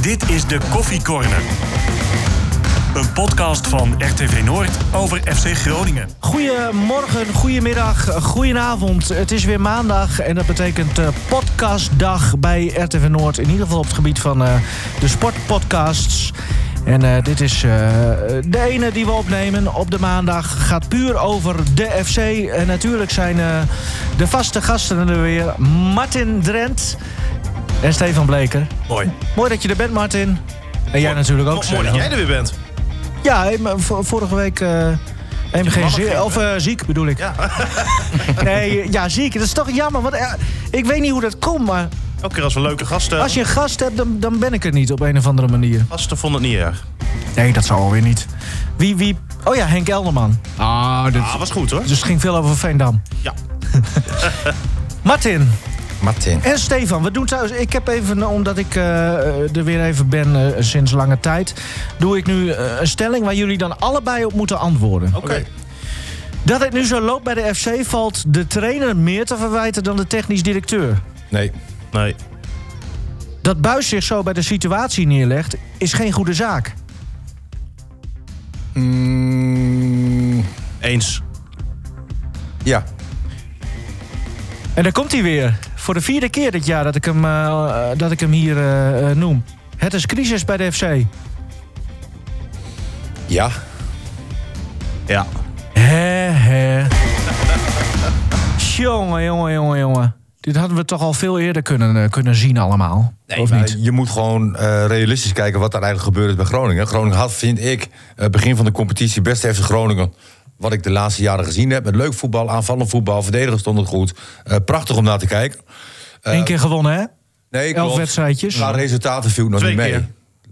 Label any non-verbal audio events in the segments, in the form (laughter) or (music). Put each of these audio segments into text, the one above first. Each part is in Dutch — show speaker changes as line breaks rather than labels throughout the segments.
Dit is de Koffie Corner. Een podcast van RTV Noord over FC Groningen.
Goedemorgen, goedemiddag, goedenavond. Het is weer maandag en dat betekent eh, podcastdag bij RTV Noord. In ieder geval op het gebied van eh, de sportpodcasts. En eh, dit is eh, de ene die we opnemen op de maandag. Gaat puur over de FC. En natuurlijk zijn eh, de vaste gasten er weer. Martin Drent en Stefan Bleker.
Mooi.
Mooi dat je er bent, Martin. En jij natuurlijk ook. eh,
Mooi dat
Stefan.
jij er weer bent.
Ja, hey, maar vor- vorige week. eh even geen
mannen
zin.
ging,
Of eh, ziek bedoel ik.
Ja.
(laughs) nee, ja, ziek. Dat is toch jammer. Want eh, ik weet niet hoe dat komt. Maar
Elke keer als we leuke gasten...
als je een gast hebt, dan, dan ben ik er niet op een of andere manier.
Gasten vonden het niet erg.
Nee, dat zou alweer niet. Wie, wie. Oh ja, Henk Elderman.
Ah, dit...
Ah, was goed hoor.
Dus het ging veel over Veendam.
Ja.
(laughs) Martin
Martin.
en Stefan, we doen trouwens. Ik heb even, eh, omdat ik eh, er weer even ben eh, sinds lange tijd, doe ik nu eh, een stelling waar jullie dan allebei op moeten antwoorden.
Oké.
Dat het nu zo loopt bij de FC valt de trainer meer te verwijten dan de technisch directeur.
Nee.
Nee.
Dat Buis zich zo bij de situatie neerlegt, is geen goede zaak.
Mm,
Eens.
ja.
En daar komt hij weer. Voor de vierde keer dit jaar dat ik hem, eh, eh, dat ik hem hier eh, eh, noem. Het is crisis bij de FC.
Ja.
Ja.
Hè, hè. (laughs) jongen, jongen, jongen, jongen. Dit hadden we toch al veel eerder kunnen, eh, kunnen zien allemaal. of
Maar
niet?
Je moet gewoon eh, realistisch kijken wat daar eigenlijk gebeurd is bij Groningen. Groningen had, vind ik, eh, begin van de competitie best heeft Groningen. Wat ik de laatste jaren gezien heb. Met leuk voetbal, aanvallend voetbal, verdedigen stond het goed. Eh, prachtig om naar te kijken. eh,
Eén keer gewonnen, hè?
Nee,
Elf
klopt.
wedstrijdjes.
Qua resultaten viel het nog
Twee
niet mee.
keer.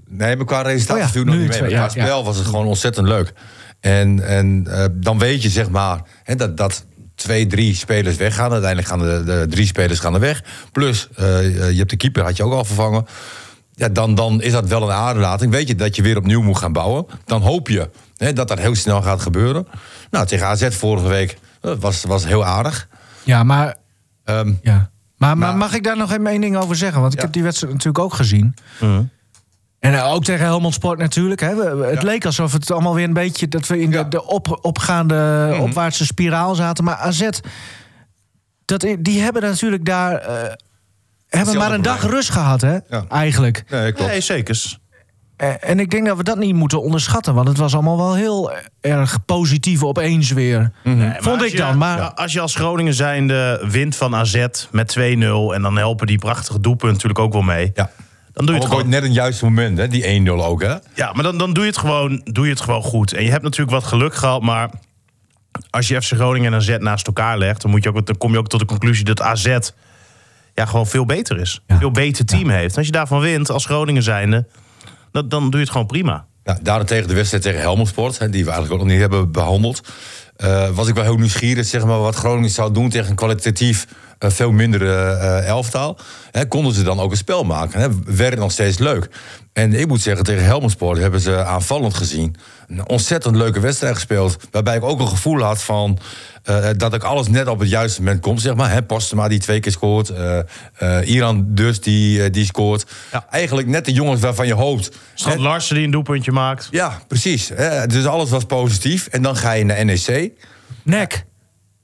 Nee, maar qua resultaten
Oh ja,
viel het nog
nu
niet mee.
twee,
Maar qua
ja, ja.
spel was het gewoon ontzettend leuk. En, en eh, dan weet je zeg maar hè, dat, dat twee, drie spelers weggaan. Uiteindelijk gaan de, de drie spelers gaan er weg. Plus, eh, eh, je hebt de keeper, had je ook al vervangen. Ja, dan, dan is dat wel een aderlating. Weet je dat je weer opnieuw moet gaan bouwen. Dan hoop je hè, dat dat heel snel gaat gebeuren. Nou, tegen AZ vorige week eh, was, was heel aardig.
Ja, maar
Ehm,
Ja. Maar, maar
Maar-
mag ik daar nog even één ding over zeggen? Want ik
Ja. Mhm.
heb die wedstrijd natuurlijk ook gezien. En eh, ook tegen Helmond Sport natuurlijk. Hè. We- we- Het leek alsof het allemaal weer een beetje... dat we in
Ja. Mhm.
de, de op, opgaande, opwaartse spiraal zaten. Maar AZ, dat, i- die hebben natuurlijk daar... eh, hebben maar een dag
probleem.
rust gehad, hè?
Ja.
Eigenlijk.
nee, klopt.
Nee, zeker.
Eh, En ik denk dat we dat niet moeten onderschatten. Want het was allemaal wel heel erg positief opeens weer. Vond ik dan, maar...
Als je als Groningen zijnde wint van AZ met 2-0... en dan helpen die prachtige doelpunten natuurlijk ook wel mee...
Ja.
dan doe je
Ook
het gewoon...
net een juiste moment, hè? die 1-0 ook. Hè?
Ja, maar dan, dan doe, je het gewoon, doe je het gewoon goed. En je hebt natuurlijk wat geluk gehad, maar... als je FC Groningen en AZ naast elkaar legt... dan, moet je ook, dan kom je ook tot de conclusie dat AZ ja, gewoon veel beter is.
Ja.
Veel beter team heeft. En als je daarvan wint, als Groningen zijnde... Dan, dan doe je het gewoon prima.
Nou, daarentegen de wedstrijd tegen Helmond Sport, hè, die we eigenlijk ook nog niet hebben behandeld. eh, was ik wel heel nieuwsgierig zeg maar, wat Groningen zou doen tegen een kwalitatief eh, veel mindere eh, elftal. Hè, konden ze dan ook een spel maken? Hè? Werd het nog steeds leuk? En ik moet zeggen, tegen Helmond Sport hebben ze aanvallend gezien. Een ontzettend leuke wedstrijd gespeeld. Waarbij ik ook een gevoel had van eh, dat ik alles net op het juiste moment kom. Zeg maar. Hè, Postema die twee keer scoort. eh, eh, Iran dus die, eh, die scoort. Eigenlijk net de jongens waarvan je hoopt. hè,
Strand Larsen die een doelpuntje maakt.
ja, precies. Eh, dus alles was positief. En dan ga je naar NEC.
Nek.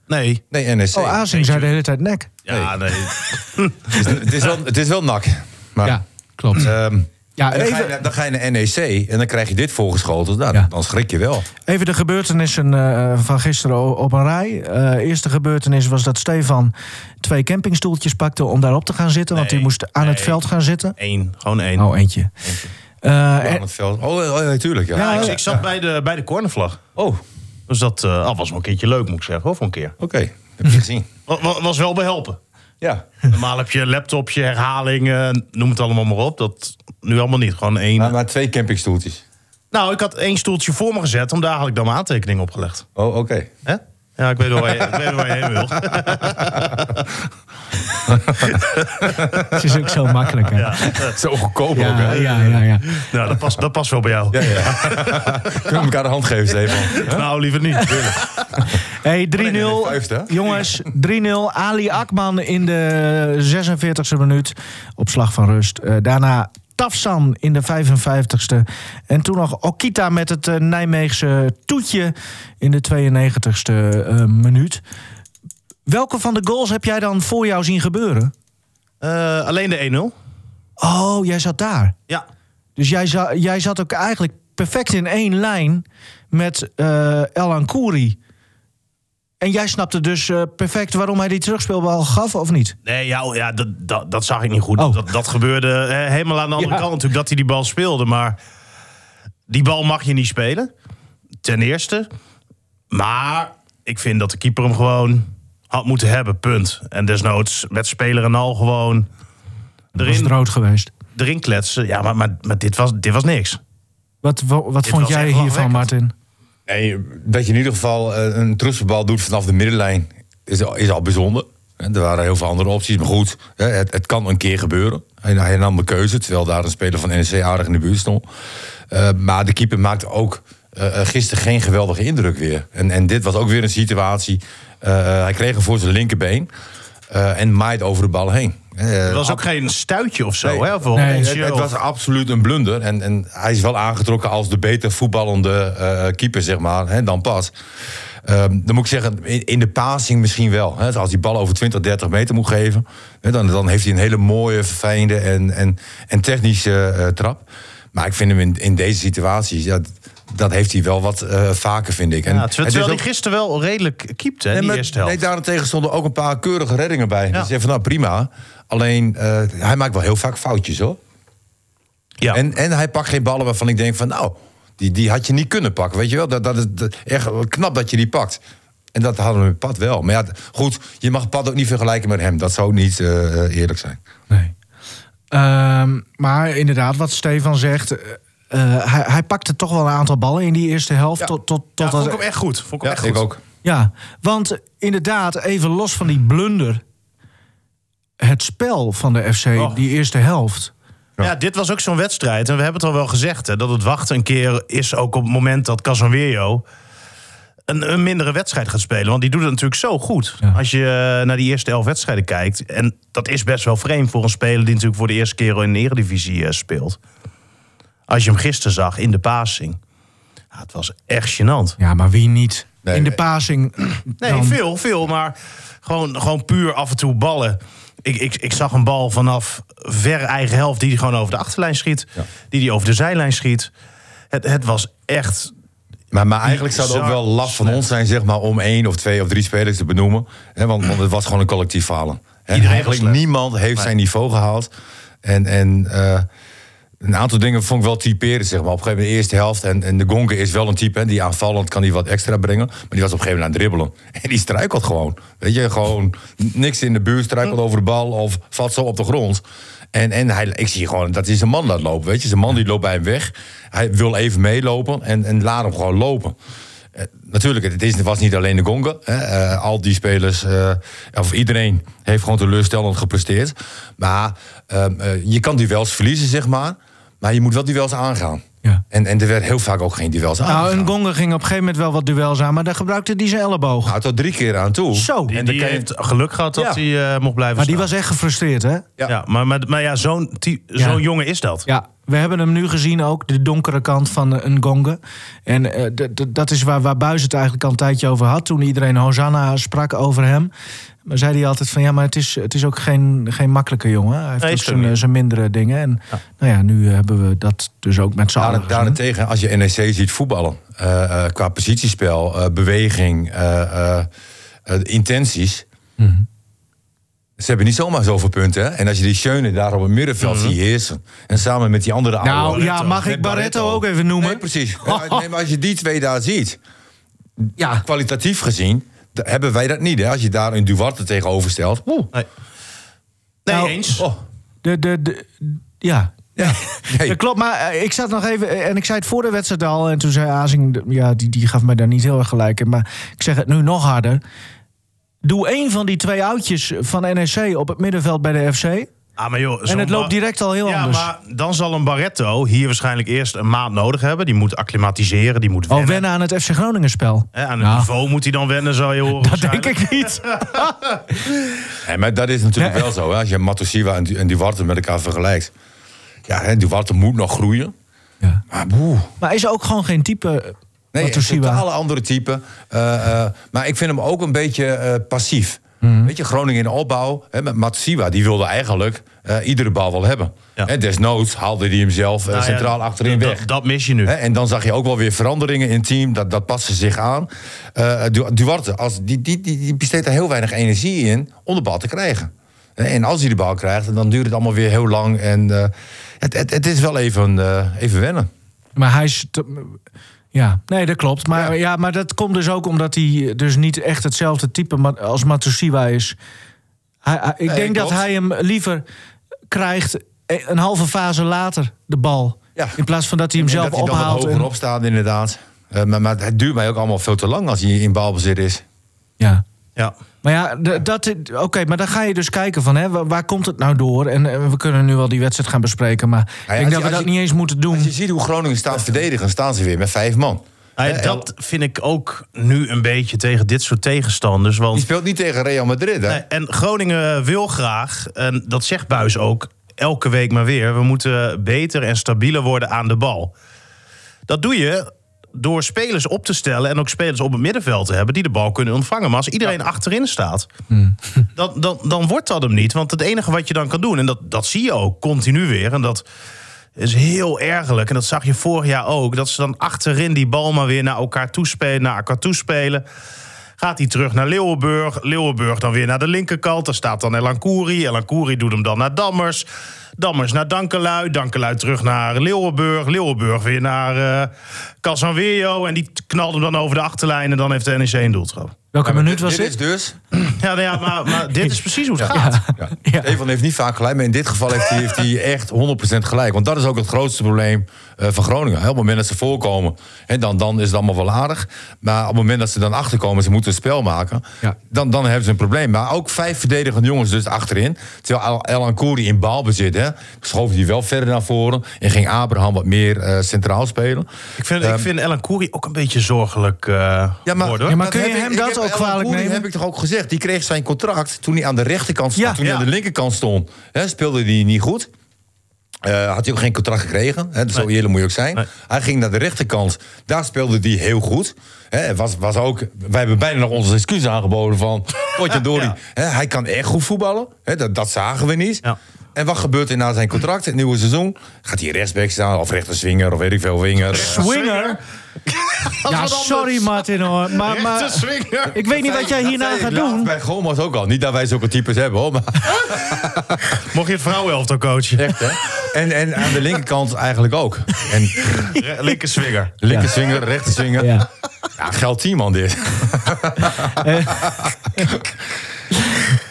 Nee.
Nee, E NEC.
Oh, Azing zei de hele tijd nek.
Ja, nee.
het, is, het, is wel, het is wel nak. Maar,
Ja, klopt.
ehm,
Ja,
en dan, ga je,
even,
naar- dan ga je naar NEC en dan krijg je dit voorgeschoteld. Nou,
Ja.
dan- Dan schrik je wel.
Even de gebeurtenissen eh, van gisteren o- op een rij. Eh eerste gebeurtenis was dat Stefan twee campingstoeltjes pakte om daarop te gaan zitten. want
Nee,
hij moest aan het
nee.
veld gaan zitten.
(laughs) Eén. Gewoon één.
Oh, eentje. Eh,
Aan
en- (laughs)
het veld. Oh, oh, ja, tuurlijk. Ja.
Ja,
Ja,
ik, ik zat bij, de, bij de cornervlag.
Oh, oké.
Dus dat eh, ah, was wel een keertje leuk, moet ik zeggen. Hoor, voor een keer.
Heb je gezien.
Wa- wa- was wel behelpen.
Ja.
Normaal heb je laptopje, herhalingen, noem het allemaal maar op. Dat nu allemaal niet. Gewoon één.
Maar, maar twee campingstoeltjes.
Nou, ik had één stoeltje voor me gezet. En daar had ik dan mijn aantekening op gelegd.
Oh, oké.
Hè? Ja, ik weet wel waar je, ik weet wel waar je heen wil.
het is ook zo makkelijk. Hè? Ja,
Zo goedkoop (laughs) ook,
ja,
hè?
ja, ja,
Nou, dat past, dat past wel bij jou.
Ja, ja. Kunnen we elkaar de hand geven, Stefan?
Nou, liever niet.
Oh,
Hey, 3-0.
vijfde, hè?
Jongens, 3-0. Ali Akman in de 46e minuut. Op slag van rust. Eh, daarna Tafsan in de 55e. En toen nog Okita met het eh, Nijmeegse toetje in de 92e eh, minuut. Welke van de goals heb jij dan voor jou zien gebeuren?
Eh, alleen de 1-0.
Oh, jij zat daar.
Ja.
Dus jij, za- jij zat ook eigenlijk perfect in één lijn met eh El Ankouri. En jij snapte dus eh, perfect waarom hij die terugspeelbal gaf, of niet?
Nee, ja, oh, ja dat, dat, dat zag ik niet goed.
Oh.
Dat, dat gebeurde eh, helemaal aan de andere
Ja.
kant natuurlijk, dat hij die bal speelde. Maar die bal mag je niet spelen, ten eerste. Maar ik vind dat de keeper hem gewoon had moeten hebben, punt. En desnoods met speler en al gewoon
Was het
erin,
rood geweest.
erin kletsen. Ja, maar, maar, maar dit, was, dit was niks.
Wat, wa- wat vond
was
jij
echt
hiervan, Martin?
lachwekkend.
Nee, dat je in ieder geval eh, een trusselbal doet vanaf de middenlijn is, al- is al bijzonder. Hè, Er waren heel veel andere opties, maar goed, hè, het, het kan een keer gebeuren. Hij, hij nam de keuze, terwijl daar een speler van NEC aardig in de buurt stond. Eh, maar de keeper maakt ook eh, eh, gisteren geen geweldige indruk weer. En, en dit was ook weer een situatie. eh, hij kreeg hem voor zijn linkerbeen eh, en maait over de bal heen. Eh,
Het was ook geen stuitje of zo,
Nee.
hè? Voor
Nee,
een
het, het was absoluut een blunder. En, en hij is wel aangetrokken als de beter voetballende eh, keeper, zeg maar, hè, dan pas. Ehm, dan moet ik zeggen, in, in de passing misschien wel. Hè. Als die bal over 20, 30 meter moet geven... Hè, dan, dan heeft hij een hele mooie, verfijnde en, en, en technische eh, trap. Maar ik vind hem in, in deze situatie... Ja, d- dat heeft hij wel wat eh, vaker, vind ik. En
ja,
het is
terwijl terwijl
ook-
hij gisteren wel redelijk keepte, hè,
Nee,
die
maar-
eerste helft.
Nee, daarentegen stonden ook een paar keurige reddingen bij. Dus
Ja.
je zegt van, nou prima. Alleen, eh, hij maakt wel heel vaak foutjes, hoor.
ja.
En, en hij pakt geen ballen waarvan ik denk van nou, die, die had je niet kunnen pakken. Weet je wel, dat, dat is dat- echt knap dat je die pakt. En dat hadden we met Pat wel. Maar ja, d- goed, je mag Pat ook niet vergelijken met hem. Dat zou niet eh, eerlijk zijn.
Nee. Ehm, maar inderdaad, wat Stefan zegt... eh, eh, hij, hij pakte toch wel een aantal ballen in die eerste helft.
Ja.
Tot, tot, tot
ja, vond ik
dat,
hem echt goed. Vond ik hem echt
ik
goed.
ook.
Ja, want inderdaad, even los van die blunder. Het spel van de FC,
Oh.
die eerste helft.
Ja. dit was ook zo'n wedstrijd. En we hebben het al wel gezegd. Hè, dat het wachten een keer is ook op het moment dat Casemiro een, een mindere wedstrijd gaat spelen. Want die doet het natuurlijk zo goed.
Ja.
Als je eh, naar die eerste elf wedstrijden kijkt. En dat is best wel vreemd voor een speler die natuurlijk voor de eerste keer in de Eredivisie eh, speelt. Als je hem gisteren zag in de passing. Ja, het was echt gênant.
Ja, maar wie niet?
Nee,
In de
nee.
passing.
Nee,
dan-
veel, veel. Maar gewoon, gewoon puur af en toe ballen. Ik, ik, ik zag een bal vanaf ver eigen helft die hij gewoon over de achterlijn schiet. Die hij over de zijlijn schiet. Het, het was echt...
Maar, maar eigenlijk zou het ook
Bizar
wel laf van
slecht.
ons zijn, zeg maar, om één of twee of drie spelers te benoemen. Hè, want, want het was gewoon een collectief falen. Hè,
Iedereen
eigenlijk
was slecht.
niemand heeft
Nee.
zijn niveau gehaald. En, en eh, een aantal dingen vond ik wel typerend, zeg maar. Op een gegeven moment de eerste helft. En, en de Gonke is wel een type, hè, die aanvallend kan die wat extra brengen. Maar die was op een gegeven moment aan het dribbelen. (laughs) En die struikelt gewoon. Weet je, gewoon n- niks in de buurt, struikelt over de bal of valt zo op de grond. En, en hij, ik zie gewoon dat hij zijn man laat lopen, weet je. Zijn man die loopt bij hem weg. Hij wil even meelopen en, en laat hem gewoon lopen. Eh, natuurlijk, het is, was niet alleen de Gonga. Hè. Eh, al die spelers, eh, of iedereen, heeft gewoon teleurstellend gepresteerd. Maar ehm, eh, je kan duels verliezen, zeg maar. Maar je moet wel duels aangaan.
Ja.
En, en er werd heel vaak ook geen duels aangegaan.
Nou, een Gonga ging op een gegeven moment wel wat duels aan, maar daar gebruikte die zijn elleboog.
Nou, tot drie keer aan toe.
Zo.
Die,
En dan
die
kan je-
heeft geluk gehad dat
Ja.
hij eh, mocht blijven
Maar die
staan.
was echt gefrustreerd, hè?
Ja.
Ja. maar, maar, maar ja, zo'n ty-
Ja.
zo'n jongen is dat.
Ja, we hebben hem nu gezien ook, de donkere kant van eh, een Gonga. En eh, d- d- dat is waar, waar Buis het eigenlijk al een tijdje over had. Toen iedereen Hosanna sprak over hem. Maar zei hij altijd van ja, maar het is, het is ook geen, geen makkelijke jongen. Hij heeft
Nee,
ook
is er
zijn, eh,
niet.
zijn mindere dingen. En nou ja, nu hebben we dat dus ook met z'n allen.
Daar,
gezien.
daarentegen, als je NEC ziet voetballen, eh, eh, qua positiespel, eh, beweging, eh, eh, eh, intenties.
Mhm.
Ze hebben niet zomaar zoveel punten. Hè? En als je die Schöne daar op het middenveld ziet heersen. En samen met die andere
Mhm. Nou
oude-
ja, mag
met
ik Barretto ook even noemen? Oh.
Nee,
(laughs)
precies. Ja, nee, maar als je die twee daar ziet,
Ja.
kwalitatief gezien, d- hebben wij dat niet. Hè? Als je daar een Duarte tegenover stelt. Oeh.
Nee, nee
Nou,
eens.
Oh,
De, de, de, ja.
ja. (laughs) Nee.
Dat klopt, maar eh, ik zat nog even... eh, En ik zei het voor de wedstrijd al. En toen zei Azing... de- Ja, die, die gaf mij daar niet heel erg gelijk in. Maar ik zeg het nu nog E harder. Doe één van die twee oudjes van NEC op het middenveld bij de FC.
Ah, maar joh, zo'n
het loopt
Bar-
direct al heel
ja,
anders.
maar dan zal een Barretto hier waarschijnlijk eerst een maand nodig hebben. Die moet acclimatiseren, die moet
Al
wennen.
Oh, wennen aan het FC Groningen spel.
Hè, Eh, aan het
Nou,
niveau moet hij dan wennen, zou je horen.
Dat denk
waarschijnlijk.
ik
(laughs)
niet.
Nee, Eh, maar dat is natuurlijk
Nee.
wel zo. Hè? Als je Matosiva en, Du- en Duarte met elkaar vergelijkt. Ja, hè, Duarte moet nog groeien.
Ja.
Maar boe.
Maar is er ook gewoon geen type eh,
Nee,
nee,
een totale andere type. Eh, eh, maar ik vind hem ook een beetje eh, passief. Weet je, Groningen in de opbouw. Hè, met Matsiwa, die wilde eigenlijk eh, iedere bal wel hebben.
Ja.
En desnoods haalde hij hem zelf eh,
Nou ja,
centraal achterin
dat-
weg.
Dat, dat mis je nu.
Hè, en dan zag je ook wel weer veranderingen in het team. Dat, dat past ze zich aan. Eh, Du- Duarte, als, die, die, die, die besteedt er heel weinig energie in om de bal te krijgen. Hè, En als hij de bal krijgt, dan duurt het allemaal weer heel lang. En eh, het, het, het is wel even, eh, even wennen.
Maar hij is. te- ja, nee, dat klopt. Maar, ja. maar dat komt dus ook omdat hij dus niet echt hetzelfde type ma- als Matsushima is. Hij, hij- ik
Nee,
denk dat
klopt.
hij hem liever krijgt e- een halve fase later, de bal.
Ja.
In plaats van dat hij hem zelf
en dat hij dan wat
ophaalt.
hoger
en-
opstaat, inderdaad. Eh, maar, maar het duurt mij ook allemaal veel te lang als hij in balbezit is.
ja.
Ja.
Maar ja, d- dat, i- oké, maar dan ga je dus kijken van hè, wa- waar komt het nou door? En, eh, we kunnen nu wel die wedstrijd gaan bespreken, maar ik denk
Nou als
dat
je-
we dat
als je-
niet eens moeten doen.
Als je ziet hoe Groningen staat verdedigen, staan ze weer met vijf man.
Nou ja,
Hè,
dat vind ik ook nu een beetje tegen dit soort tegenstanders.
Die
Want,
speelt niet tegen Real Madrid, hè?
Nee, en Groningen wil graag, en dat zegt Buis ook elke week maar weer... we moeten beter en stabieler worden aan de bal. Dat doe je door spelers op te stellen... en ook spelers op het middenveld te hebben die de bal kunnen ontvangen. Maar als iedereen achterin staat, (laughs) dan, dan, dan wordt dat hem niet. Want het enige wat je dan kan doen, en dat, dat zie je ook continu weer... en dat is heel ergerlijk. En dat zag je vorig jaar ook. Dat ze dan achterin die bal maar weer naar elkaar toespelen. Naar elkaar toespelen. Gaat hij terug naar Leeuwenburg. Leeuwenburg dan weer naar de linkerkant. Daar staat dan Elan Kouri. Elan Kouri doet hem dan naar Dammers. Dammers naar Dankelui. Dankelui terug naar Leeuwenburg. Leeuwenburg weer naar eh Casanwejo. En die knalt hem dan over de achterlijn. En dan heeft de NEC een doeltrap.
Welke
Ja, maar
minuut
dit-
was
dit
dit?
is dus.
Ja, nou ja maar, maar dit is precies hoe het gaat.
Ja.
Ja.
Stefan heeft niet vaak gelijk, maar in dit geval heeft hij, heeft hij echt 100% gelijk. Want dat is ook het grootste probleem eh, van Groningen. Hè, Op het moment dat ze voorkomen, hè, dan, dan is het allemaal wel aardig. Maar op het moment dat ze dan achterkomen, ze moeten een spel maken,
Ja.
dan, dan hebben ze een probleem. Maar ook vijf verdedigende jongens dus achterin. Terwijl El- Elan Kouri in balbezit, hè, schoof hij wel verder naar voren en ging Abraham wat meer eh, centraal spelen.
Ik vind, ik vind Elan Kouri ook een beetje zorgelijk eh worden, hoor.
Ehm. Ja, maar kun
heb
je
ik-
hem
ik
dat
heb
ook
Alan
kwalijk
Koering
nemen?
heb ik toch ook gezegd. Die kreeg zijn contract toen hij aan de rechterkant stond.
Ja.
toen hij
Ja.
aan de linkerkant stond, hè, speelde hij niet goed. Eh, had hij ook geen contract gekregen. Hè, Zo eerlijk moet je ook zijn.
Nee.
Hij ging naar de rechterkant. Daar speelde hij heel goed. Hè, en was, was ook, wij hebben bijna nog onze excuses aangeboden van... (laughs) Potjandori,
Ja.
hè, hij kan echt goed voetballen. Hè, dat, dat zagen we niet.
Ja.
En wat gebeurt er na zijn contract, het nieuwe seizoen? Gaat hij rechtsback staan of rechterswinger of weet ik veel, winger.
Swinger? Ja, sorry Martin hoor. Maar, maar, ik weet niet wat jij hierna
Dat zei
gaat
ik laatst
doen.
Bij Gomas ook al. Niet dat wij zulke types hebben, hoor. Maar (laughs)
Mocht je het vrouwenelftal coachen?
echt, hè? En, en aan de linkerkant eigenlijk ook. En
Re- Linker swinger.
linkerswinger, rechterswinger. Ja.
Ja.
geld team (laughs) dit.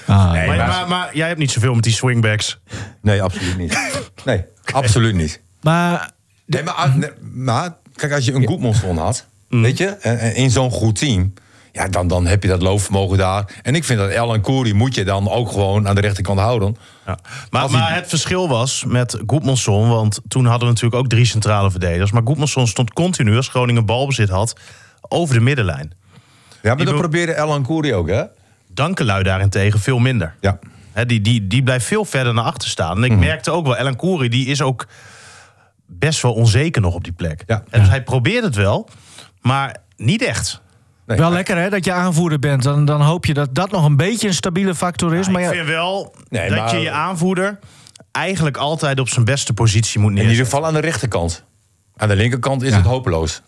Ah.
nee,
Maar,
maar-
maar, maar jij hebt niet zoveel met die swingbacks.
nee, absoluut niet. Nee, absoluut niet.
Maar
Nee, maar, ah, nee, maar kijk, als je een Goedmonson had, weet je, en, en in zo'n goed team, ja, dan, dan heb je dat loopvermogen daar. En ik vind dat Alan Koeri moet je dan ook gewoon aan de rechterkant houden.
Ja. Maar,
Als hij-
maar het verschil was met Goedmanson, want toen hadden we natuurlijk ook drie centrale verdedigers. Maar Goedmanson stond continu, als Groningen balbezit had, over de middenlijn.
Ja, maar dat
wil-
probeerde Alan Koeri ook, hè?
Dankelui daarentegen veel minder.
Ja.
Hè, die, die, die blijft veel verder naar achter staan.
Mhm.
En ik merkte ook wel, Ellen Koeri die is ook best wel onzeker nog op die plek.
Ja.
En dus hij probeert het wel, maar niet echt.
Nee,
wel lekker hè, dat je aanvoerder bent. Dan, dan hoop je dat dat nog een beetje een stabiele factor is. Maar
ik
ja,
vind wel
Nee,
dat
maar-
je je aanvoerder eigenlijk altijd op zijn beste positie moet
In ieder
neerzetten.
geval aan de rechterkant. Aan de linkerkant is het hopeloos.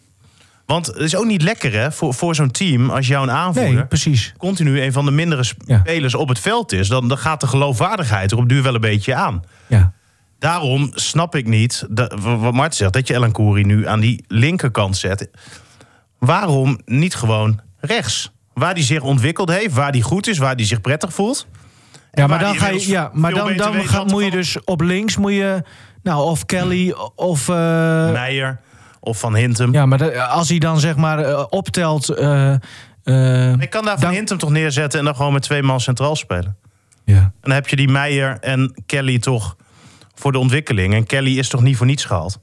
Want het is ook niet lekker hè, voor, voor zo'n team als jouw aanvoerder...
nee, precies.
continu een van de mindere sp-
Ja.
spelers op het veld is... Dan, dan gaat de geloofwaardigheid er op duur wel een beetje aan.
Ja.
Daarom snap ik niet, dat, wa- wat Mart zegt... dat je Ellen Koeri nu aan die linkerkant zet. Waarom niet gewoon rechts? Waar die zich ontwikkeld heeft, waar die goed is... waar die zich prettig voelt.
Ja, maar
waar
dan,
die
ga je,
inmiddels
ja, maar
veel
dan,
beter
dan
weet
ga,
wat er
moet je
van-
dus op links moet je, nou, of Kelly of. eh,
Meijer of Van Hintem.
ja, maar dat- als hij dan zeg maar eh, optelt. eh, eh,
Ik kan daar Van
Dan-
Hintem toch neerzetten... en dan gewoon met twee man centraal spelen.
Ja.
En dan heb je die Meijer en Kelly toch voor de ontwikkeling. En Kelly is toch niet voor niets gehaald?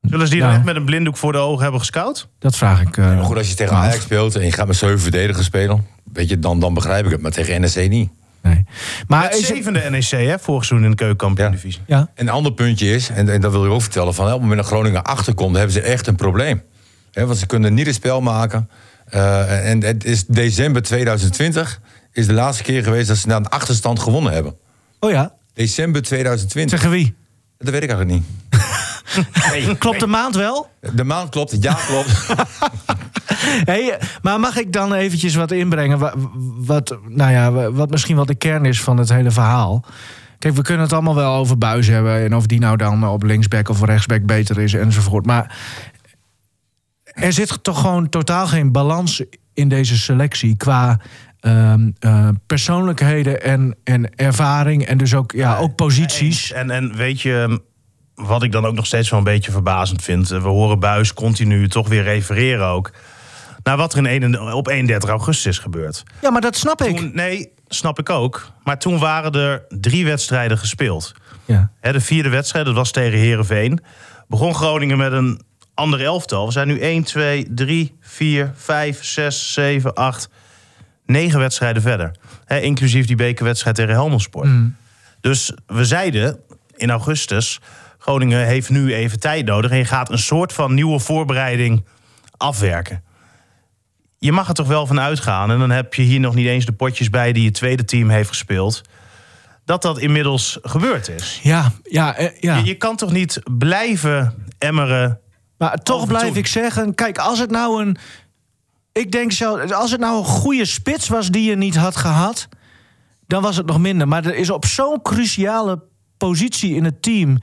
Zullen ze die
Nou.
dan echt met een blinddoek voor de ogen hebben gescout?
Dat vraag ik. eh,
Maar goed, als je tegen
me af.
Ajax speelt en je gaat met zeven verdedigers spelen, weet je, dan, dan begrijp ik het. Maar tegen NEC niet.
Nee. Maar
Het
is het-
zevende NEC, hè, vorig seizoen in de keukenkampioen-divisie.
ja,
Een ander puntje is, en, en dat wil ik ook vertellen, van, hè, op het moment dat Groningen achterkomt, hebben ze echt een probleem. Hè, want ze kunnen niet het spel maken. Eh, en het is december 2020 is de laatste keer geweest dat ze na een achterstand gewonnen hebben.
oh ja,
December 2020.
tegen wie?
Dat weet ik eigenlijk niet.
Klopt de maand wel?
De maand klopt, het jaar klopt.
(laughs) Hey, maar mag ik dan eventjes wat inbrengen? wa- Wat, nou ja, wa- wat misschien wel de kern is van het hele verhaal. Kijk, we kunnen het allemaal wel over buis hebben. En of die nou dan op linksback of rechtsback beter is enzovoort. Maar er zit toch gewoon totaal geen balans in deze selectie. Qua ehm, eh, persoonlijkheden en, en ervaring. En dus ook, ja, ook posities.
En, en weet je, ehm, wat ik dan ook nog steeds wel een beetje verbazend vind. eh, We horen Buis continu toch weer refereren ook. Naar wat er in een, op 31 augustus is gebeurd.
Ja, maar dat snap ik.
Toen- nee, snap ik ook. Maar toen waren er drie wedstrijden gespeeld.
Ja.
Hè, de vierde wedstrijd, dat was tegen Herenveen. Begon Groningen met een ander elftal. We zijn nu 1, 2, 3, 4, 5, 6, 7, 8, 9 wedstrijden verder. Hè, inclusief die bekerwedstrijd tegen Helmelsport. Dus we zeiden in augustus: Groningen heeft nu even tijd nodig. En je gaat een soort van nieuwe voorbereiding afwerken. Je mag er toch wel van uitgaan. En dan heb je hier nog niet eens de potjes bij die je tweede team heeft gespeeld. Dat dat inmiddels gebeurd is.
Ja, ja, eh, ja.
Je, je kan toch niet blijven emmeren.
Maar toch
Over
blijf
toen.
ik zeggen, kijk, als het nou een... Ik denk zelf, als het nou een goede spits was die je niet had gehad... dan was het nog minder. Maar er is op zo'n cruciale positie in het team...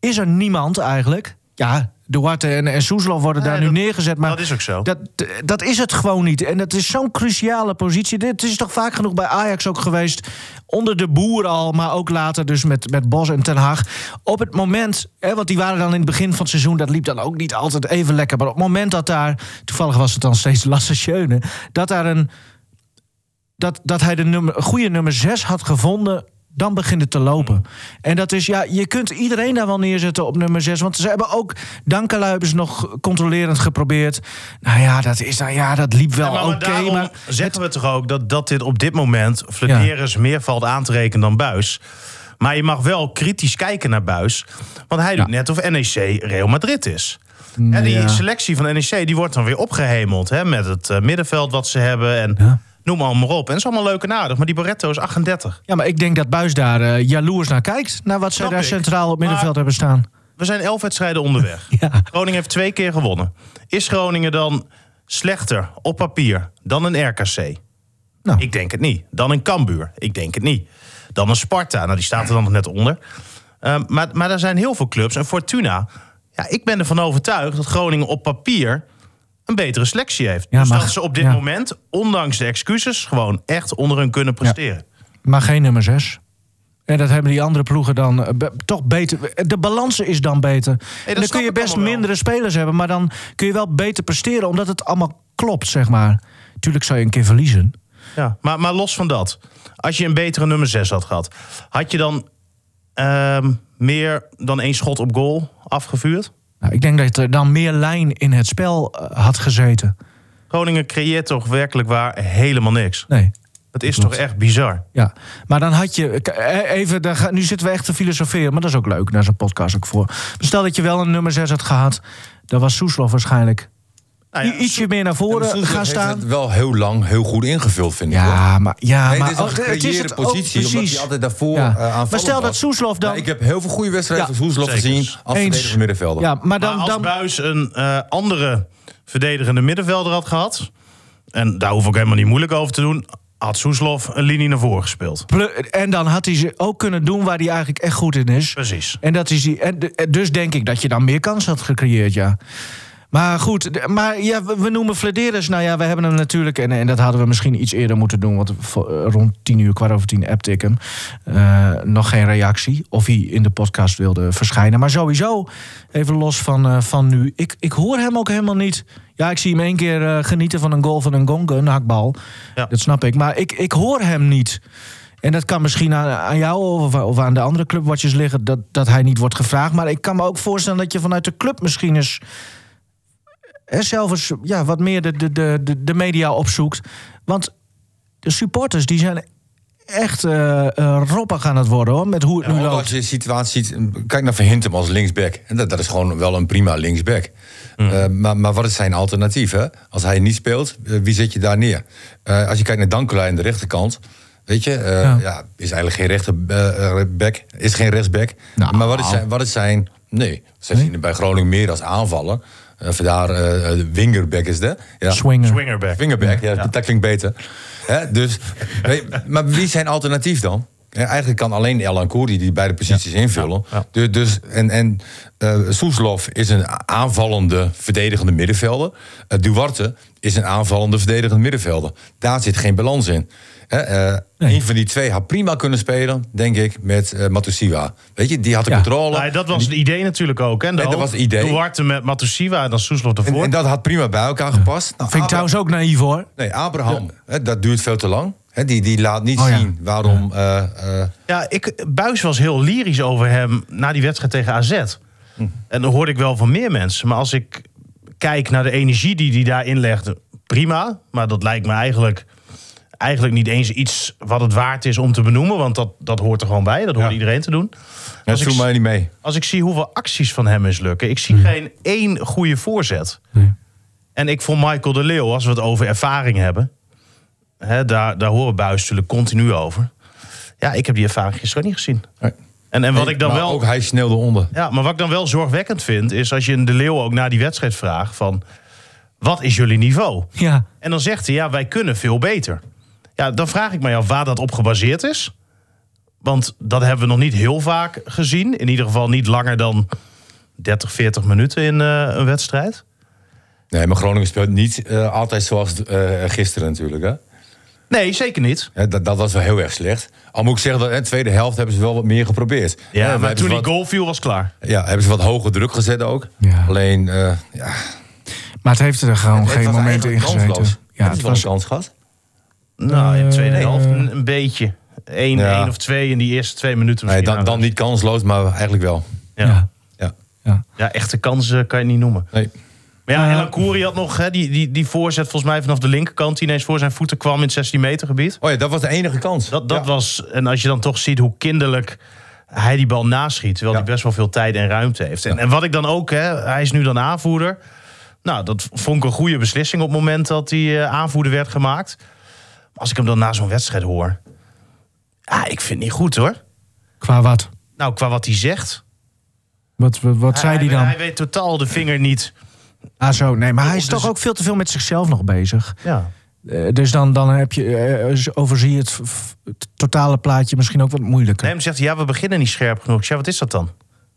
is er niemand eigenlijk. Ja, Duarte en, en Soeslof worden
Nee,
daar nu
dat-
neergezet. Maar
dat is ook zo.
Dat, dat is het gewoon niet. En dat is zo'n cruciale positie. Dit is toch vaak genoeg bij Ajax ook geweest. Onder de boer al, maar ook later dus met, met Bos en Ten Haag. Op het moment, hè, want die waren dan in het begin van het seizoen... dat liep dan ook niet altijd even lekker. Maar op het moment dat daar, toevallig was het dan steeds Lasse Schöne... dat daar een dat, dat hij de nummer, goede nummer 6 had gevonden. Dan begint het te lopen.
Hmm.
En dat is, ja, je kunt iedereen daar wel neerzetten op nummer 6. Want ze hebben ook Dankelui hebben ze nog controlerend geprobeerd. Nou ja, dat, is, nou ja, dat liep wel
maar,
oké.
maar daarom
maar
zeggen we toch ook dat, dat dit op dit moment Flederis meer valt aan te rekenen dan Buis. Maar je mag wel kritisch kijken naar Buis. Want hij doet net of NEC Real Madrid is. En die
Mm, Ja.
selectie van NEC die wordt dan weer opgehemeld. Hè, met het eh, middenveld wat ze hebben. En
Ja.
noem allemaal maar op. En het is allemaal leuk en aardig. Maar die Barretto is 38.
ja, maar ik denk dat Buis daar eh, jaloers naar kijkt. Naar wat zij
Snap
daar
ik.
centraal op middenveld
Maar-
hebben staan.
We zijn elf wedstrijden onderweg.
(laughs) Ja.
Groningen heeft twee keer gewonnen. Is Groningen dan slechter op papier dan een RKC?
Nou.
Ik denk het niet. Dan een Cambuur? Ik denk het niet. Dan een Sparta? Nou, die staat er dan nog net onder. Ehm, maar, maar er zijn heel veel clubs. En Fortuna, ja, ik ben ervan overtuigd dat Groningen op papier een betere selectie heeft.
Ja,
dus
maar-
dat ze op dit
ja.
moment, ondanks de excuses, gewoon echt onder hun kunnen presteren.
Maar geen nummer 6. En dat hebben die andere ploegen dan eh, be- toch beter. De balans is dan beter. En dan
snap
kun je
ik
best
allemaal wel.
mindere spelers hebben, maar dan kun je wel beter presteren omdat het allemaal klopt, zeg maar. Tuurlijk zou je een keer verliezen.
Ja, maar, maar los van dat. Als je een betere nummer 6 had gehad, had je dan ehm, meer dan één schot op goal afgevuurd?
Nou, ik denk dat er dan meer lijn in het spel eh, had gezeten.
Groningen creëert toch werkelijk waar helemaal niks.
Nee.
Dat is toch echt bizar.
Ja, maar dan had je. k- eh, Even, daar ga- nu zitten we echt te filosoferen, maar dat is ook leuk. Daar is een podcast ook voor. Stel dat je wel een nummer 6 had gehad, dan was Soeslof waarschijnlijk
Nou ja,
i- ietsje meer naar voren
(laughs) Soeslof
gaan
heeft
staan.
het wel heel lang heel goed ingevuld, vind ik. hoor.
Ja, maar, ja,
Nee,
maar oh,
dit is een
ook-
gecreëerde
ook
positie, omdat
precies.
hij altijd daarvoor
Ja.
eh aanvallend
Maar stel dat
was.
Soeslof dan...
Maar ik heb heel veel goede wedstrijden
Ja,
van Soeslof
zeker.
gezien als
Eens.
verdediger middenvelder.
ja, maar dan...
maar als
dan
Buis een eh, andere verdedigende middenvelder had gehad, en daar hoef ik helemaal niet moeilijk over te doen, had Soeslof een linie naar voren gespeeld.
plu- en dan had hij ze ook kunnen doen waar hij eigenlijk echt goed in is.
Precies.
En dat is die, en, de- en dus denk ik dat je dan meer kans had gecreëerd, ja. Maar goed, d- maar ja, we, we noemen Flederis. Nou ja, we hebben hem natuurlijk. En, en dat hadden we misschien iets eerder moeten doen. Want vo- eh, rond tien uur, kwart over tien, appte ik hem. Eh, nog geen reactie. Of hij in de podcast wilde verschijnen. Maar sowieso, even los van, eh, van nu. Ik, ik hoor hem ook helemaal niet. Ja, ik zie hem één keer eh, genieten van een goal van een gongen, een hakbal.
Ja.
Dat snap ik. Maar ik, ik hoor hem niet. En dat kan misschien aan, aan jou of, of aan de andere clubwatchers liggen... Dat, dat hij niet wordt gevraagd. Maar ik kan me ook voorstellen dat je vanuit de club misschien eens... hè, zelf eens ja, wat meer de, de, de, de- de media opzoekt. Want de supporters die zijn echt eh eh, roppig aan het worden... hoor, met hoe het nu
Ja, ook
loopt.
als je de situatie ziet, kijk naar Van Hintem als linksback. En dat, dat is gewoon wel een prima linksback.
Mm.
Eh, maar, maar wat is zijn alternatief? Hè? Als hij niet speelt, eh, wie zet je daar neer? Eh, als je kijkt naar Dankula aan de rechterkant. Weet je, eh,
Ja.
ja. is eigenlijk geen rechterback. Is geen rechtsback.
Nou.
Maar wat is zijn... Wat is zijn nee, ze zien er bij Groningen meer als aanvallen. Eh vandaar eh, eh, wingerback is de. Ja.
Swinger.
Swingerback.
Vingerback, ja, dat klinkt beter. Hè, dus, nee, maar wie zijn alternatief dan? Hè, eigenlijk kan alleen Elan Koeri die beide posities invullen.
ja.
Dus, dus, en en eh, Soeslof is een aanvallende verdedigende middenvelder. Eh, Duarte is een aanvallende verdedigende middenvelder. Daar zit geen balans in. Hè, eh, Een van die twee had prima kunnen spelen, denk ik, met eh Matusiwa. Weet je, die had de
Ja.
controle.
Nou, dat was het idee natuurlijk ook. Hè? De
Nee, dat
hoop.
was het idee.
Duarte met Matusiwa en dan Soeslof
en,
ervoor.
en dat had prima bij elkaar gepast. Nou,
Vind ik
Abra-
trouwens ook naïef hoor.
Nee, Abraham, hè, dat duurt veel te lang. Hè, die, die laat niet
Oh, ja.
zien waarom. eh, eh,
Ja, ik, Buis was heel lyrisch over hem na die wedstrijd tegen AZ. En dat hoorde ik wel van meer mensen. Maar als ik kijk naar de energie die hij daarin legde, prima. Maar dat lijkt me eigenlijk, eigenlijk niet eens iets wat het waard is om te benoemen. Want dat, dat hoort er gewoon bij. Dat hoort
Ja.
iedereen te doen.
dat
ik
doet
s-
mij niet mee.
Als ik zie hoeveel acties van hem mislukken. Ik zie
Hmm.
geen één goede voorzet. En ik vond Michael de Leeuw, als we het over ervaring hebben. Hè, daar, daar horen Buis natuurlijk continu over. Ja, ik heb die ervaring gisteren ook niet gezien. En, en wat ik dan
maar
wel.
Ook hij sneeuwde onder.
Ja, maar wat ik dan wel zorgwekkend vind, is als je een De Leeuw ook na die wedstrijd vraagt van... Wat is jullie niveau?
Ja.
En dan zegt hij, ja, wij kunnen veel beter. Ja, dan vraag ik mij af waar dat op gebaseerd is. Want dat hebben we nog niet heel vaak gezien. In ieder geval niet langer dan 30, 40 minuten in eh, een wedstrijd.
Nee, maar Groningen speelt niet eh, altijd zoals eh, gisteren natuurlijk. Hè?
Nee, zeker niet.
Hè, dat, dat was wel heel erg slecht. Al moet ik zeggen, dat, hè, de tweede helft hebben ze wel wat meer geprobeerd. Hè,
Ja,
we
maar
hebben
toen
ze
die
wat,
goal viel was klaar.
Ja, hebben ze wat hoger druk gezet ook.
Ja.
Alleen, eh, ja,
Maar het heeft er gewoon
het
geen
was
moment
eigenlijk
in gezeten.
kansloos.
Ja,
eh? het is wel een kans gehad.
Nou, in de tweede
Eh,
helft een, een beetje. Eén
Ja.
één of twee in die eerste twee minuten
Nee,
misschien.
dan, dan niet kansloos, maar eigenlijk wel.
Ja.
Ja.
Ja.
Ja.
ja, echte kansen kan je niet noemen.
Nee.
Maar ja,
Eh,
Elan Koeri had nog hè, die, die, die voorzet volgens mij vanaf de linkerkant... die ineens voor zijn voeten kwam in het 16 meter gebied.
Oh ja, dat was de enige kans.
Dat, dat
Ja.
was, en als je dan toch ziet hoe kinderlijk hij die bal naschiet... terwijl
Ja.
hij best wel veel tijd en ruimte heeft. En, en wat ik dan ook, hè, hij is nu dan aanvoerder. Nou, dat vond ik een goede beslissing op het moment dat hij eh, aanvoerder werd gemaakt. Maar Als ik hem dan na zo'n wedstrijd hoor... Ja, ik vind het niet goed hoor.
Qua wat?
Nou, qua wat hij zegt.
Wat, wat, wat zei hij dan?
Hij weet totaal de vinger niet.
Ah zo, nee, maar hij is
Oh,
toch
dus-
ook veel te veel met zichzelf nog bezig.
Ja.
Eh, dus dan, dan heb je, eh, z- overzie je het, v- v- het totale plaatje misschien ook wat moeilijker.
Nee, hem zegt hij, ja, we beginnen niet scherp genoeg. Ik zeg, wat is dat dan?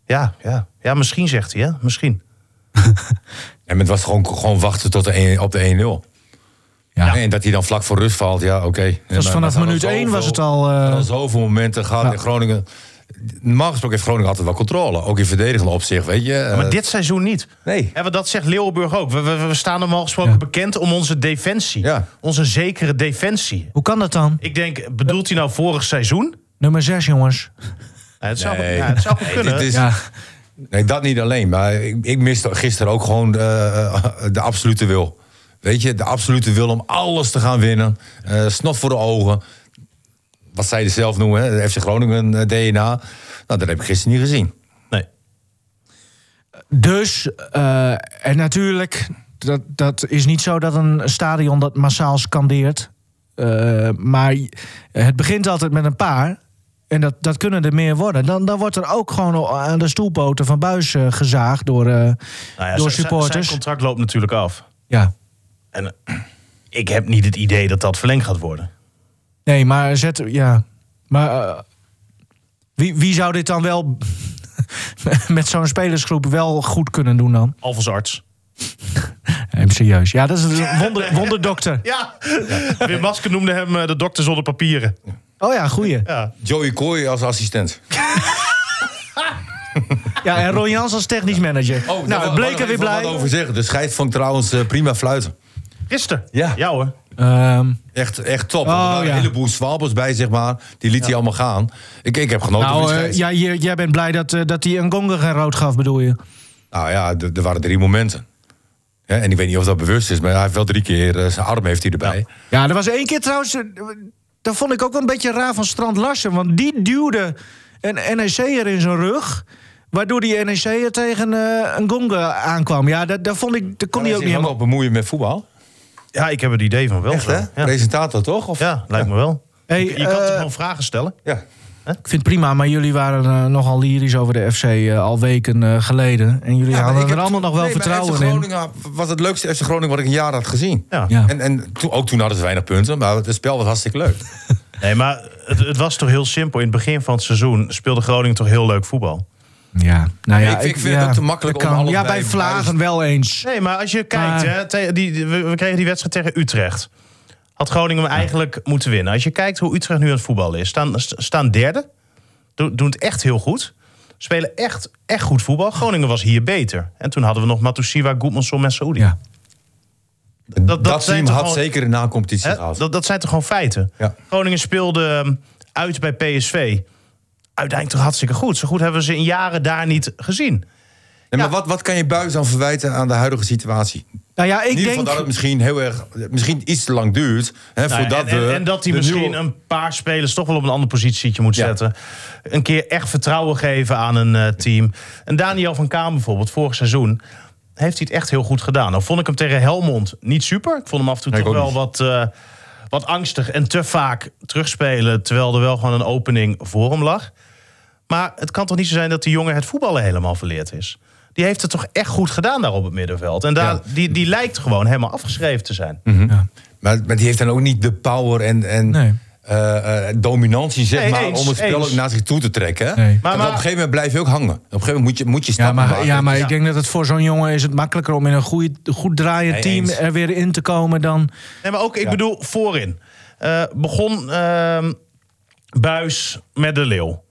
Ja, ja. Ja, misschien zegt hij, hè. Misschien.
En het was gewoon, gewoon wachten tot de een, op de 1-0.
Ja.
Ja. En dat hij dan vlak voor rust valt, ja, oké. Ja, maar-
vanaf
maar er
minuut
zijn
één was
zoveel-
het al, eh,
er zijn zoveel momenten gehad
Ja.
in Groningen. Normaal gesproken heeft Groningen altijd wel controle. Ook in verdedigend opzicht, weet je. eh,
Maar dit seizoen niet.
Nee.
En wat dat zegt Leeuwenburg ook. We, we, we staan normaal gesproken
Ja.
bekend om onze defensie.
Ja.
Onze zekere defensie.
Hoe kan dat dan?
Ik denk, bedoelt hij nou vorig seizoen?
Nummer 6, jongens.
Ja, het, zou,
Nee.
ja, het zou
Nee,
kunnen.
dit is-
Ja.
Nee, dat niet alleen. Maar ik, ik miste gisteren ook gewoon eh, de absolute wil. Weet je, de absolute wil om alles te gaan winnen. Eh snot voor de ogen. Wat zij er zelf noemen, hè, de FC Groningen eh, DNA. Nou, dat heb ik gisteren niet gezien.
Nee. Nou
Dus, eh, en natuurlijk, dat, dat is niet zo dat een stadion dat massaal scandeert. Eh, maar j- het begint altijd met een paar. En dat, dat kunnen er meer worden. Dan, dan wordt er ook gewoon aan de stoelpoten van buis eh, gezaagd door, eh,
Nou ja,
door
zijn- Zijn
supporters.
contract loopt natuurlijk af.
Ja.
En eh, ik heb niet het idee dat dat verlengd gaat worden.
Nee, maar zet. Ja. Maar eh, wie, wie zou dit dan (laughs) wel met zo'n spelersgroep wel goed kunnen doen dan?
Alvast arts.
serieus. Ja, dat is een wonder, wonderdokter.
Ja, Wim Maske noemde hem eh, de dokter zonder papieren.
Oh ja, goeie.
Ja.
Joey Kooi als assistent.
Ja, en Ron Jans als technisch
Oh,
manager. nou, het bleek er weer blij.
Wat over zeggen. De scheids vond trouwens eh, prima fluiten.
Gisteren.
Ja.
ja hoor.
Ehm,
Echt, echt top. er
Oh,
waren
ja.
een heleboel zwalbers bij, zeg maar. Die liet hij allemaal gaan. Ik, ik heb genoten van
nou,
de
eh,
scheids.
ja, je- jij bent blij dat, eh, dat hij een gonger geen rood gaf, bedoel je?
Nou ja, d- er waren drie momenten. Hè, en ik weet niet of dat bewust is, maar hij heeft wel drie keer eh, zijn arm heeft hij erbij.
Ja, er was één keer trouwens... eh, Dat vond ik ook wel een beetje raar van Strand Larsen. Want die duwde een NEC'er in zijn rug... waardoor die NEC'er tegen eh, een gonger aankwam. Ja, dat, dat vond ik... Dat kon hij ook
zich
niet helemaal...
wel bemoeien met voetbal.
Ja, ik heb het idee van wel.
Echt,
zo.
hè?
Ja.
Presentator toch? Of?
ja, lijkt me wel.
Hey,
je je kan toch
eh,
gewoon vragen stellen.
Ja.
Ik vind het prima, maar jullie waren eh, nogal lyrisch over de FC eh, al weken eh, geleden. En jullie
Ja, maar
hadden
ik
er
heb-
allemaal nog wel
Nee, maar
vertrouwen
FC
in.
Groningen was het leukste FC Groningen wat ik een jaar had gezien.
Ja.
Ja.
En, en toen- ook toen hadden ze weinig punten, maar het spel was hartstikke leuk.
Nee, maar het, het was toch heel simpel. In het begin van het seizoen speelde Groningen toch heel leuk voetbal.
Ja, nou ja,
Ik- ik vind het ook te makkelijk
dat
om alles
Ja,
bij-
bij Vlagen wel eens.
Nee, maar als je kijkt,
Maar-
hè, te- die, die- we we kregen die wedstrijd tegen Utrecht. Had Groningen hem eigenlijk moeten winnen. Als je kijkt hoe Utrecht nu aan het voetballen is, staan, st- staan derde. Do- doen het echt heel goed. Spelen echt, echt goed voetbal. Groningen was hier beter. En toen hadden we nog Matusiwa, Goedmanson en Saoudi.
Ja.
Dat,
dat zijn
team
toch
had
gewoon-
zeker een na-competitie
Hè,
gehad.
dat, dat zijn toch gewoon feiten?
Ja.
Groningen speelde ehm, uit bij PSV. Uiteindelijk toch hartstikke goed. Zo goed hebben we ze in jaren daar niet gezien.
Nee,
ja.
maar wat, wat kan je buiten dan verwijten aan de huidige situatie?
Nou ja, ik
in ieder
denk...
geval dat het misschien heel erg, misschien iets te lang duurt. Hè,
Nou ja,
voordat
en, en-
we
en dat hij
de
misschien
nieuwe-
een paar spelers toch wel op een ander positietje moet
Ja.
zetten. Een keer echt vertrouwen geven aan een eh, team. En Daniel van Kaan bijvoorbeeld, vorig seizoen, heeft hij het echt heel goed gedaan. Nou vond ik hem tegen Helmond niet super. Ik vond hem af en toe
Nee, ik
toch wel
ook
wat, eh, wat angstig en te vaak terugspelen. Terwijl er wel gewoon een opening voor hem lag. Maar het kan toch niet zo zijn dat die jongen het voetballen helemaal verleerd is? Die heeft het toch echt goed gedaan daar op het middenveld. En daar,
Ja.
die, die lijkt gewoon helemaal afgeschreven te zijn.
Mhm. Ja.
Maar, maar die heeft dan ook niet de power en, en
Nee.
eh, eh, dominantie, zeg
Nee,
maar,
eens,
om het spel
eens.
ook naar zich toe te trekken. hè?
Nee. Maar-
Want
maar-
op een gegeven moment blijf je ook hangen. Op een gegeven moment moet je, moet je
Ja,
stappen
maar,
maken.
ja, maar
Ja.
ik denk dat het voor zo'n jongen is het makkelijker om in een goeie, goed draaiend
Nee,
team
eens.
er weer in te komen dan...
Nee, maar ook, ik bedoel, voorin. Eh, begon ehm, Buis met De Leeuw.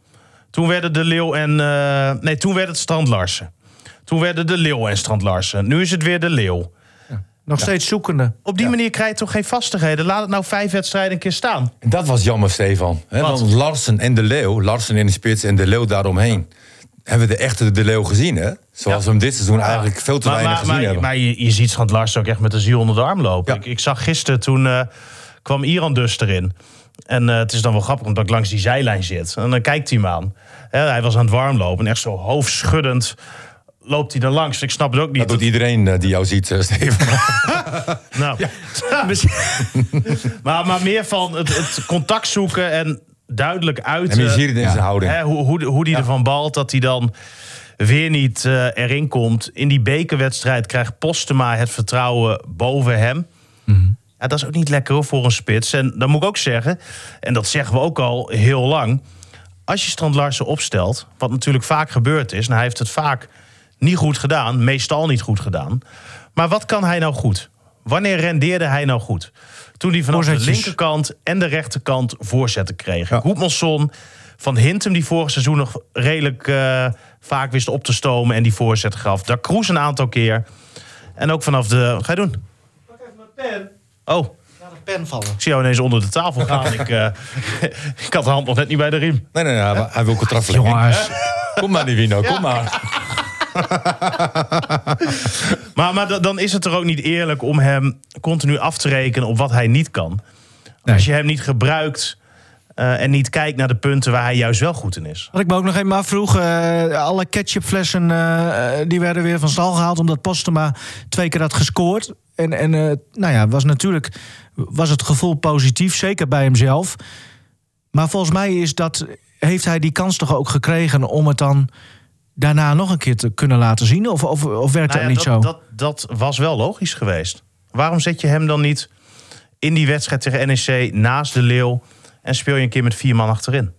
Toen werden De Leeuw en... eh, nee, toen werd het Strand Larsen. Toen werden De Leeuw en Strand Larsen. Nu is het weer De Leeuw.
Nog steeds zoekende.
Op die manier krijg je toch geen vastigheden. Laat het nou vijf wedstrijden een keer staan.
Dat was jammer, Stefan. hè,
Wat?
want Larsen en De Leeuw, Larsen in de spits en De Leeuw daaromheen... hebben we de echte De Leeuw gezien, hè? Zoals we hem dit seizoen eigenlijk veel te
maar,
weinig
maar,
gezien
maar-
hebben.
maar je, je ziet Strand Larsen ook echt met de ziel onder de arm lopen.
Ja.
Ik, ik zag gisteren, toen eh, kwam Iran dus erin. En eh, het is dan wel grappig, omdat ik langs die zijlijn zit. En dan kijkt hij me aan. Hè, hij was aan het warmlopen. En echt zo hoofdschuddend loopt hij er langs. Ik snap het ook niet.
dat doet iedereen eh, die jou ziet, eh, Stefan.
Nou. (laughs) maar, maar meer van het, het contact zoeken en duidelijk
En
uiten.
je ziet het in
Ja.
zijn houding.
Hè, hoe, hoe, hoe die ervan balt, dat hij dan weer niet eh, erin komt. In die bekerwedstrijd krijgt Postema het vertrouwen boven hem.
Mhm.
Ja, dat is ook niet lekker hoor, voor een spits. En dan moet ik ook zeggen, en dat zeggen we ook al heel lang... als je Strand Larsen opstelt, wat natuurlijk vaak gebeurd is... en hij heeft het vaak niet goed gedaan, meestal niet goed gedaan... maar wat kan hij nou goed? Wanneer rendeerde hij nou goed? Toen hij vanaf de
Voorzetjes.
linker linkerkant en de rechterkant voorzetten kregen. Goedmanson, Van Hintem, die vorig seizoen nog redelijk eh, vaak wist op te stomen en die voorzet gaf. Da Cruz een aantal keer. En ook vanaf de. Wat ga je doen?
Pak even mijn pen.
Oh,
Naar de pen vallen.
ik zie jou ineens onder de tafel
(laughs)
gaan. ik, eh, (laughs) ik had de hand nog net niet bij de riem.
Nee, nee, nee, hij- hij wil contract verlengen.
Jongens.
Kom maar, Nivino, kom maar.
Maar, maar da- dan is het er ook niet eerlijk om hem continu af te rekenen op wat hij niet kan.
Nee.
Als je hem niet gebruikt eh, en niet kijkt naar de punten waar hij juist wel goed in is.
Wat ik me ook nog even afvroeg, eh, alle ketchupflessen eh, eh, die werden weer van stal gehaald... omdat Postema twee keer had gescoord. En, en eh, nou ja, was natuurlijk was het gevoel positief, zeker bij hemzelf. Maar volgens mij is dat, heeft hij die kans toch ook gekregen... om het dan daarna nog een keer te kunnen laten zien? Of, of, of werkt
Nou ja,
dat niet
dat,
zo?
Dat, dat was wel logisch geweest. Waarom zet je hem dan niet in die wedstrijd tegen NEC naast de Leeuw... en speel je een keer met vier man achterin?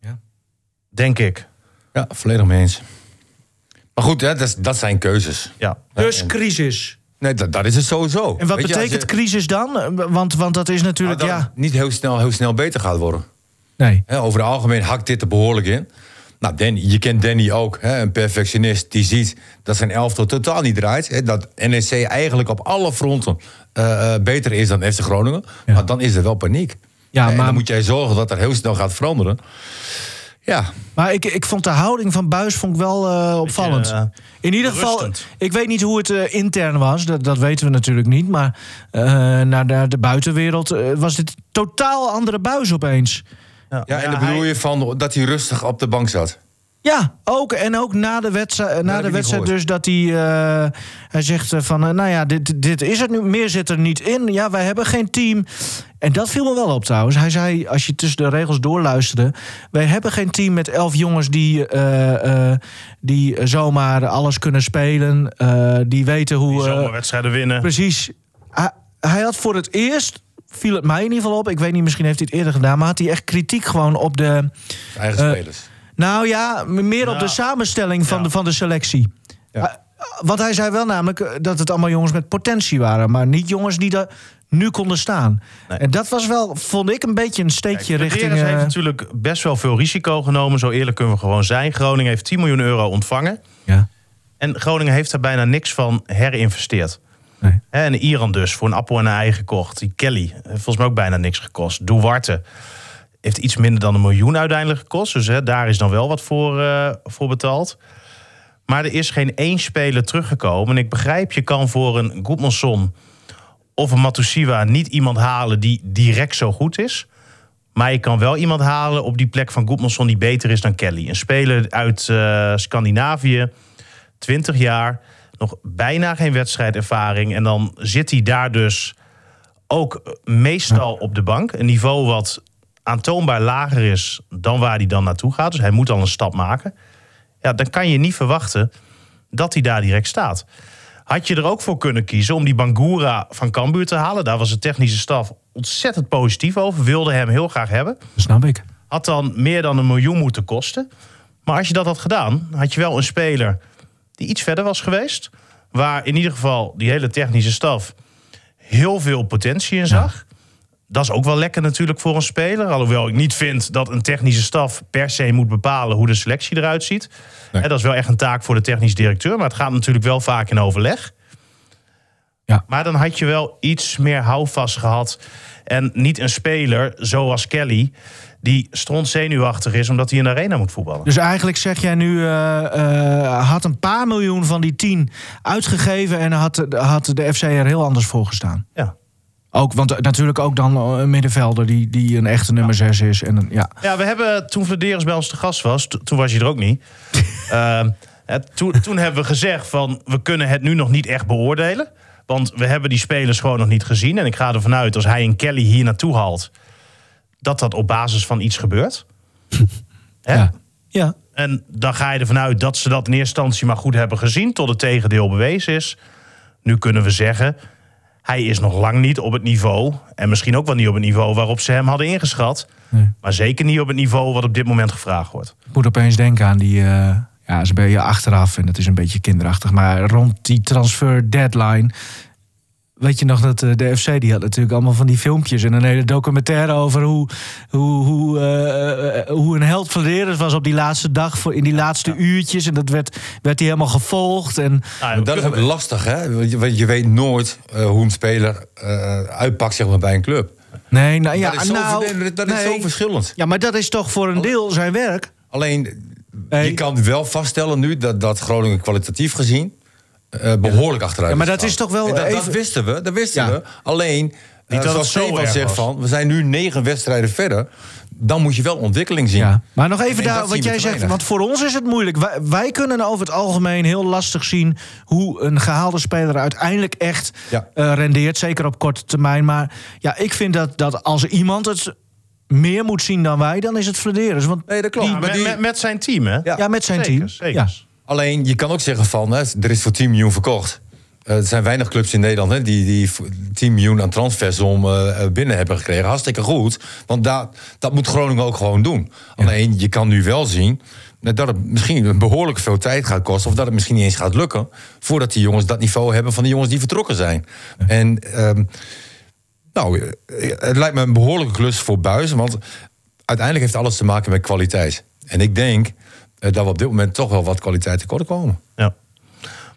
Ja.
Denk ik,
Ja, volledig mee eens. Maar goed, hè, dat, is- dat zijn keuzes.
ja.
Dus crisis.
Nee, dat, dat is het sowieso.
En wat
Weet je, als
betekent
je-
crisis dan? Eh, Want, want dat is
nou,
natuurlijk,
dat het
ja...
niet heel snel, heel snel beter gaat worden.
Nee.
Hè, over het algemeen hakt dit er behoorlijk in. Nou, Danny, je kent Danny ook, hè, een perfectionist die ziet dat zijn elftal totaal niet draait. Hè, dat NEC eigenlijk op alle fronten eh, eh, beter is dan FC Groningen.
Ja.
Maar dan is er wel paniek.
Ja,
Hè, en
maar-
dan moet jij zorgen dat er heel snel gaat veranderen. Ja,
Maar ik, ik vond de houding van Buis vond ik wel eh, opvallend.
eh,
In ieder geval,
berustend.
ik weet niet hoe het eh, intern was. Dat, dat weten we natuurlijk niet. Maar eh, naar de, de buitenwereld eh, was dit totaal andere Buis opeens.
ja en
Ja,
dan bedoel
hij-
je van dat hij rustig op de bank zat.
Ja, ook. En ook na de wedstrijd, na
heb
de
ik niet
wedstrijd dus dat
gehoord.
hij, eh, hij zegt eh, van... eh, nou ja, dit, dit is het nu. Meer zit er niet in. Ja, wij hebben geen team. En dat viel me wel op trouwens. Hij zei, als je tussen de regels doorluisterde... wij hebben geen team met elf jongens die, eh, eh, die zomaar alles kunnen spelen. eh, die weten hoe...
Die
eh,
zomerwedstrijden winnen.
Precies. Hij, hij had voor het eerst, viel het mij in ieder geval op... ik weet niet, misschien heeft hij het eerder gedaan... maar had hij echt kritiek gewoon op de...
Eigen
Eh,
spelers.
Nou ja, m- meer op
Nou,
de samenstelling van,
ja.
de, van de selectie.
Ja.
Ah, ah, Want hij zei wel namelijk eh, dat het allemaal jongens met potentie waren, maar niet jongens die daar nu konden staan.
Nee.
En dat was wel, vond ik, een beetje een steekje
Kijk,
richting.
Federer heeft
eh,
natuurlijk best wel veel risico genomen. Zo eerlijk kunnen we gewoon zijn. Groningen heeft 10 miljoen euro ontvangen.
ja.
En Groningen heeft daar bijna niks van herinvesteerd.
Nee.
Hè, En Iran dus, voor een appel en een ei gekocht. Die Kelly, heeft volgens mij ook bijna niks gekost. Duarte heeft iets minder dan een miljoen uiteindelijk gekost. Dus hè, daar is dan wel wat voor, eh, voor betaald. Maar er is geen één speler teruggekomen. En ik begrijp, je kan voor een Goedmanson of een Matusiwa niet iemand halen die direct zo goed is. Maar je kan wel iemand halen op die plek van Goedmanson die beter is dan Kelly. Een speler uit eh, Scandinavië, 20 jaar, nog bijna geen wedstrijdervaring. En dan zit hij daar dus ook meestal op de bank. Een niveau wat aantoonbaar lager is dan waar hij dan naartoe gaat. Dus hij moet al een stap maken. Ja, dan kan je niet verwachten dat hij daar direct staat. Had je er ook voor kunnen kiezen om die Bangura van Cambuur te halen? Daar was de technische staf ontzettend positief over. Wilde hem heel graag hebben
snap ik.
had dan meer dan een miljoen moeten kosten. Maar als je dat had gedaan, had je wel een speler die iets verder was geweest. Waar in ieder geval die hele technische staf heel veel potentie in zag. Dat is ook wel lekker natuurlijk voor een speler. Alhoewel ik niet vind dat een technische staf per se moet bepalen hoe de selectie eruit ziet. Hè, Dat is wel echt een taak voor de technisch directeur. Maar het gaat natuurlijk wel vaak in overleg.
Ja.
Maar dan had je wel iets meer houvast gehad. En niet een speler zoals Kelly, die strontzenuwachtig is omdat hij in de arena moet voetballen.
Dus eigenlijk zeg jij nu, eh, eh, had een paar miljoen van die tien uitgegeven en had, had de FC er heel anders voor gestaan.
Ja.
Ook, want eh, natuurlijk ook dan een middenvelder die, die een echte nummer 6 is. En een, ja.
Ja, we hebben toen Vladeris bij ons te gast was, to- toen was je er ook niet. Ehm, hè, toen, toen hebben we gezegd van we kunnen het nu nog niet echt beoordelen. Want we hebben die spelers gewoon nog niet gezien. En ik ga ervan uit als hij en Kelly hier naartoe haalt, dat dat op basis van iets gebeurt. Hè?
Ja. ja.
En dan ga je ervan uit dat ze dat in eerste instantie maar goed hebben gezien, tot het tegendeel bewezen is. Nu kunnen we zeggen, hij is nog lang niet op het niveau, en misschien ook wel niet op het niveau waarop ze hem hadden ingeschat,
Nee.
maar zeker niet op het niveau wat op dit moment gevraagd wordt.
Ik moet opeens denken aan die. eh ja, is een beetje achteraf en dat is een beetje kinderachtig. Maar rond die transfer deadline. Weet je nog dat eh, de FC die had natuurlijk allemaal van die filmpjes en een hele documentaire over hoe, hoe, hoe, eh, eh, hoe een held van Leerders was op die laatste dag, voor, in die laatste uurtjes. En dat werd, werd hij helemaal gevolgd. En
Nou,
Maar dat is ook lastig, hè? Want je- Want je weet nooit eh, hoe een speler eh, uitpakt zeg maar, bij een club.
nee, nou ja,
dat is zo,
nou,
ver- dat is
nee.
zo verschillend.
Ja, maar dat is toch voor een deel zijn werk.
Alleen,
Nee.
je kan wel vaststellen nu dat, dat Groningen kwalitatief gezien eh, behoorlijk achteruit
Ja, maar dat
gegaan.
is toch wel
En dat, dat
even-
wisten we, dat wisten
Ja.
we. Alleen,
dat
eh,
het
zoals
zo
Stefan
erg
zegt
was.
van, we zijn nu negen wedstrijden verder. Dan moet je wel ontwikkeling zien.
Ja. Maar nog even daar,
En dat zien
wat
we
jij
te
zegt,
weinig.
want voor ons is het moeilijk. Wij, wij kunnen nou over het algemeen heel lastig zien hoe een gehaalde speler uiteindelijk echt
Ja.
eh, rendeert. Zeker op korte termijn. Maar ja, ik vind dat, dat als iemand het meer moet zien dan wij, dan is het Flederis. Want
Nee, dat klopt.
die-
maar
met,
die-
met, met zijn team, hè?
Ja.
ja, met zijn
Zeker,
team.
zeker.
Ja.
Alleen, je kan ook zeggen van, hè, er is voor 10 miljoen verkocht. eh, er zijn weinig clubs in Nederland hè, die, die v- 10 miljoen aan transfers om eh, eh, binnen hebben gekregen. Hartstikke goed. Want daar dat moet Groningen ook gewoon doen. Alleen je kan nu wel zien eh, dat het misschien behoorlijk veel tijd gaat kosten. Of dat het misschien niet eens gaat lukken. Voordat die jongens dat niveau hebben van de jongens die vertrokken zijn. En ehm, nou, eh, het lijkt me een behoorlijke klus voor Buis. Want uiteindelijk heeft alles te maken met kwaliteit. En ik denk eh, dat we op dit moment toch wel wat kwaliteit tekort komen.
Ja.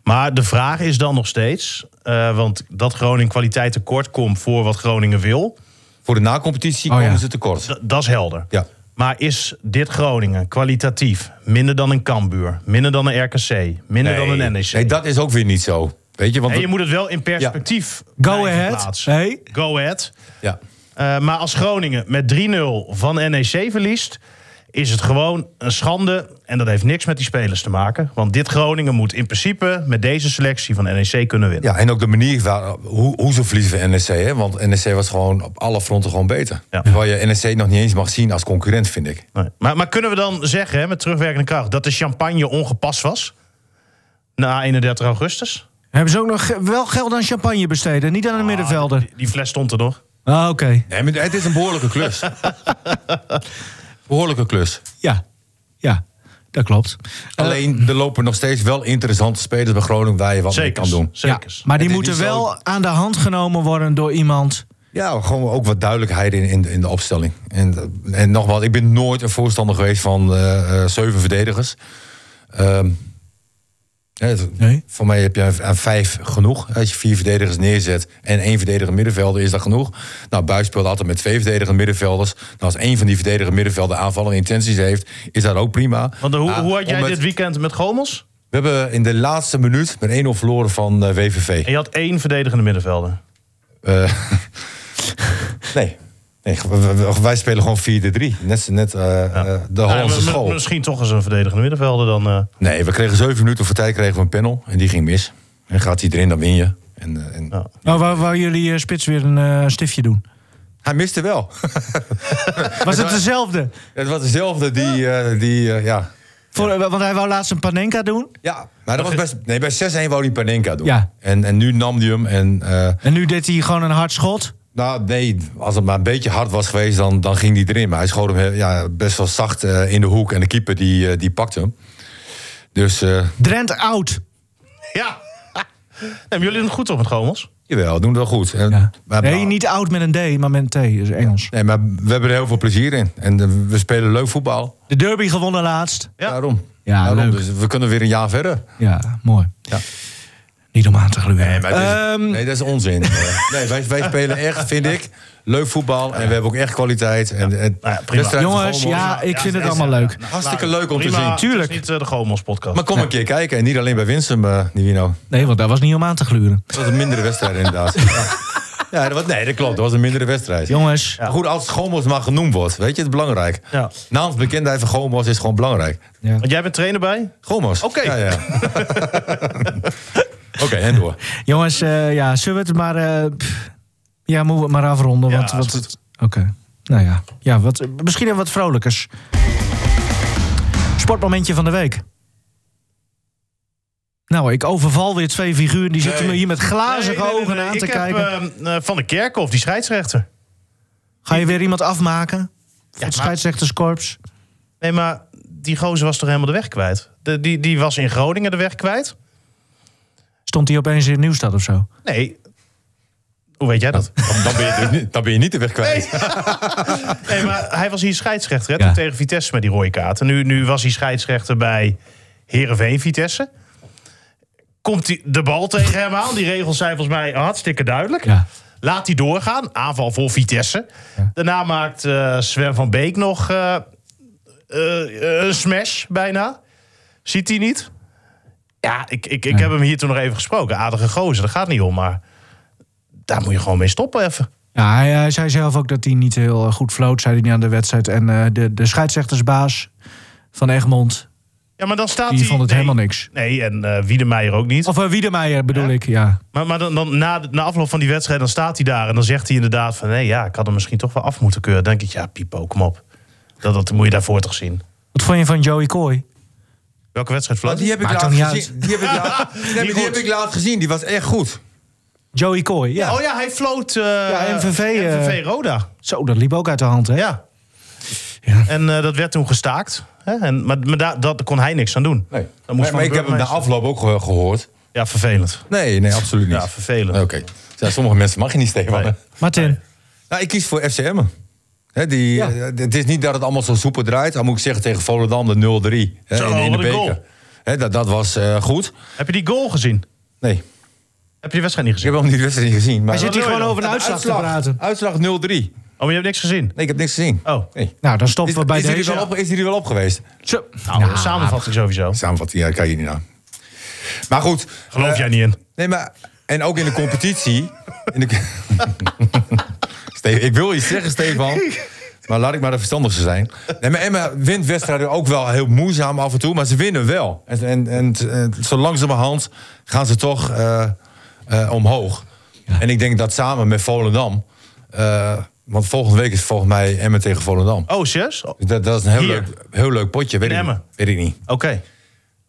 Maar de vraag is dan nog steeds, eh, want dat Groningen kwaliteit tekort komt voor wat Groningen wil,
Voor de nacompetitie
Oh,
komen
ja.
ze tekort.
d- dat is helder.
Ja.
Maar is dit Groningen kwalitatief minder dan een Kambuur, minder dan een RKC, minder dan een NEC?
Nee, dat is ook weer niet zo. Weet je, want
En je moet het wel in perspectief
Go
blijven
Ahead,
plaatsen.
hey.
Go ahead.
ja.
Eh, maar als Groningen met 3-0 van NEC verliest, is het gewoon een schande. En dat heeft niks met die spelers te maken. Want dit Groningen moet in principe met deze selectie van NEC kunnen winnen.
ja, en ook de manier waar, hoe, hoe ze verliezen van NEC. Hè? Want NEC was gewoon op alle fronten gewoon beter.
Ja.
Terwijl je NEC nog niet eens mag zien als concurrent, vind ik.
Nee. Maar, maar kunnen we dan zeggen, hè, met terugwerkende kracht, dat de champagne ongepast was? Na 31 augustus?
Hebben ze ook nog ge- wel geld aan champagne besteden, niet aan
Ah,
een middenvelder?
Nou, Die, die fles stond er nog.
Ah, oké.
Nee, maar het is een behoorlijke (laughs) klus. behoorlijke klus.
Ja. Ja, dat klopt.
Alleen, er lopen nog steeds wel interessante spelers bij Groningen... waar je wat
Zeker.
mee kan doen.
Ja,
Zeker.
maar die
Het is
moeten
niet zo-
wel aan de hand genomen worden door iemand.
Ja, gewoon ook wat duidelijkheid in, in, de- in de opstelling. En, en nogmaals, ik ben nooit een voorstander geweest van eh, eh, zeven verdedigers. Ehm, hè, het-
Nee.
Voor mij heb je aan vijf genoeg. Als je vier verdedigers neerzet en één verdediger middenvelder, is dat genoeg. Nou, Buis speelt altijd met twee verdedigende middenvelders. Nou, als één van die verdedigende middenvelden aanvallende intenties heeft, is dat ook prima.
Want hoe,
Maar
hoe had jij
Ah, om het-
dit weekend met Gomels?
We hebben in de laatste minuut met 1-0 verloren van eh, WVV.
En je had één verdedigende middenvelder.
Eh, (laughs) nee. nee we- we- we- wij spelen gewoon 4-3. Net, net eh, eh, de
Nou,
Hollandse
m- m-
school.
Misschien toch eens een verdedigende middenvelder dan. eh,
(laughs) Nee, we kregen zeven minuten voor tijd kregen we een panel. En die ging mis. En gaat hij erin, dan win je. En, eh, en...
Ja.
Nou, wou, wou jullie eh, spits weer een eh, stiftje doen?
Hij miste wel. (laughs)
Was het dezelfde?
het was dezelfde die... eh, die eh, ja.
Voor, Want hij wou laatst een panenka doen.
ja, maar dat was best... Nee, bij 6-1 wou hij Panenka doen.
Ja.
En, en nu nam hij hem. En, eh,
En nu deed hij gewoon een hard schot.
nou, nee, als het maar een beetje hard was geweest, dan, dan ging hij erin. Maar hij schoot hem eh, ja, best wel zacht eh, in de hoek. En de keeper die, eh, die pakte hem. Dus... eh,
Drent out.
Ja. (laughs) Hebben jullie het goed op met Gomels?
Jawel, we doen het wel goed. En- maar,
Nee, niet oud met een D, maar met een T, is Engels.
nee, maar we hebben er heel veel plezier in. En eh, we spelen leuk voetbal.
De derby gewonnen laatst.
Ja.
Daarom.
Ja,
Daarom.
leuk.
Dus we kunnen weer een jaar verder.
Ja, mooi.
Ja.
Niet om aan te gluren.
Nee, maar het is-
Ehm,
nee, dat is onzin. Eh, nee, wij, wij spelen echt, vind ik, leuk voetbal. En we hebben ook echt kwaliteit. En, en
Nou ja, prima.
wedstrijden
jongens,
gewoon mooi.
ja, ik
Ja,
vind het
ja,
allemaal
ja,
leuk.
Hartstikke leuk om te
Prima,
zien.
het is
Tuurlijk.
niet eh, de Gomels podcast.
Maar kom een keer kijken. En niet alleen bij Winsum, eh Nivino.
Nee, want daar was niet om aan te gluren.
Dat was een mindere wedstrijd inderdaad. Ja, ja dat was, nee, dat klopt. Dat was een mindere wedstrijd.
Jongens,
Maar Goed, als Gomos maar genoemd wordt, weet je, het is belangrijk.
(laughs) Ja.
Naamsbekendheid van Gomos is gewoon belangrijk.
Ja.
Want jij bent trainer bij?
Gomos.
Oké.
Ja, (laughs) ja. Oké, en door.
jongens eh, ja, zullen we het maar... eh, pff, ja, moeten we het maar afronden.
Ja,
want, want
is goed.
Oké, nou ja. ja wat, misschien even wat vrolijkers. Sportmomentje van de week. Nou, ik overval weer twee figuren. Die zitten
Nee.
me hier met glazige
Nee, nee, nee,
ogen
nee.
aan
Ik
te
heb,
kijken.
eh, eh, van de Kerkhof, die scheidsrechter.
Ga je weer iemand afmaken? Voor het
maar-
scheidsrechterskorps?
Nee, maar die gozer was toch helemaal de weg kwijt? De, die, die was in Groningen de weg kwijt?
Stond hij opeens in Nieuwstad of zo?
Nee. Hoe weet jij dat?
Dan, dan ben je dus niet, dan ben je niet de weg kwijt.
(laughs) Nee, maar hij was hier scheidsrechter hè,
Ja.
toen tegen Vitesse met die rode kaart. En nu, nu was hij scheidsrechter bij Heerenveen Vitesse. Komt die, de bal tegen hem aan. Die regels zijn volgens mij hartstikke duidelijk.
Ja.
Laat die doorgaan. Aanval voor Vitesse. Daarna maakt eh, Sven van Beek nog eh, eh, een smash bijna. Ziet hij niet? Ja, ik, ik, ik heb hem hier toen nog even gesproken. Aardige gozer, dat gaat niet om. Maar daar moet je gewoon mee stoppen even.
Ja, hij, hij zei zelf ook dat hij niet heel eh, goed floot, zei hij niet aan de wedstrijd. En eh, de, de scheidsrechtersbaas van Egmond,
Ja, maar dan staat
die
hij...
vond het
nee.
helemaal niks.
Nee, en eh Wiedemeijer ook niet.
Of eh, Wiedemeijer bedoel ik, ja.
Maar, maar dan, dan, na, de- na afloop van die wedstrijd, dan staat hij daar... en dan zegt hij inderdaad van... nee, ja, ik had hem misschien toch wel af moeten keuren. Dan denk ik, ja, Pipo, kom op. Dat, dat moet je daarvoor toch zien.
Wat vond je van Joey Kooi?
Welke wedstrijd
Maar
fluit?
die heb
Maakt
ik laatst
toch niet
gezien. Die heb ik (laughs) laatst- Nee, maar die
goed.
heb ik laatst gezien. Die was echt goed.
Joey Kooi, ja.
Oh ja, hij floot eh
MVV, eh,
MVV Roda.
Zo, dat liep ook uit de hand, hè?
Ja.
Ja.
En eh, dat werd toen gestaakt. Hè? En, maar maar daar dat kon hij niks aan doen.
Nee.
Dan
maar
moest
maar ik heb hem na afloop ook ge- gehoord.
Ja, vervelend.
Nee, nee, absoluut niet.
Ja, vervelend.
Oké. Ja, sommige mensen mag je niet, Stefan.
Nee.
Martin,
Nou, ik kies voor FCM. Hè, die, eh, Het is niet dat het allemaal zo soepel draait. Al moet ik zeggen tegen Volendam de 0-3 hè,
Zo, wat
in, in de
een
beker.
goal.
Hè, dat, dat was eh, goed.
Heb je die goal gezien?
Nee, ik
Heb je de wedstrijd niet gezien?
heb hem niet wedstrijd niet gezien. Maar
hij zit hier
wil je
gewoon
dan?
over een uitslag te praten.
Uitslag 0-3. Nee,
Oh, maar je hebt niks gezien?
ik heb niks gezien.
Oh.
Nee.
Nou, dan stoppen
Is,
we bij
is, hij er
deze.
wel op, is hij er wel op geweest?
Zo.
Nou,
Ja.
samenvatting sowieso.
Samenvatting, ja, kan je niet naar. Maar goed.
Geloof
eh,
jij niet in?
Nee, maar... En ook in de competitie... in de, (laughs) Steve, ik wil iets zeggen, Stefan. Maar laat ik maar de verstandigste zijn. Nee, maar Emma wint wedstrijden ook wel heel moeizaam af en toe. Maar ze winnen wel. En, en, en, eh, zo langzamerhand gaan ze toch eh, eh, omhoog. En ik denk dat samen met Volendam... eh, want volgende week is volgens mij Emmen tegen Volendam.
Oh, serieus? Oh, Oké.
Dus Dat, dat is een heel
Hier.
leuk, heel leuk potje. Weet
In
ik,
Emmen.
weet ik niet.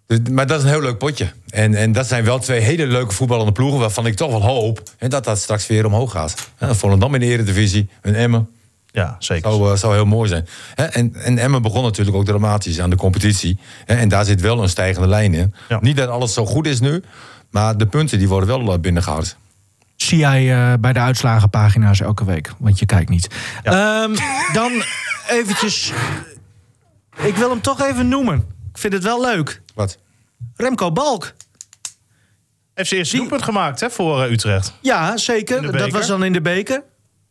Dus- maar dat is een heel leuk potje. En, en dat zijn wel twee hele leuke voetballende ploegen... waarvan ik toch wel hoop hè, dat dat straks weer omhoog gaat. Ja, Volendam in de Eredivisie, een Emmen.
Ja, zeker.
Zou, eh, zou heel mooi zijn. Hè, en, en Emmen begon natuurlijk ook dramatisch aan de competitie. Hè, en daar zit wel een stijgende lijn in.
Ja.
Niet dat alles zo goed is nu... maar de punten die worden wel eh, binnengehaald.
Zie jij eh, bij de uitslagenpagina's elke week, want je kijkt niet. Ehm, dan eventjes... Ik wil hem toch even noemen. Ik vind het wel leuk.
Wat?
Remco Balk.
Heeft ze eerst een doelpunt gemaakt hè, voor eh, Utrecht?
Ja,
In de
zeker. Dat
beker.
was dan in de beker.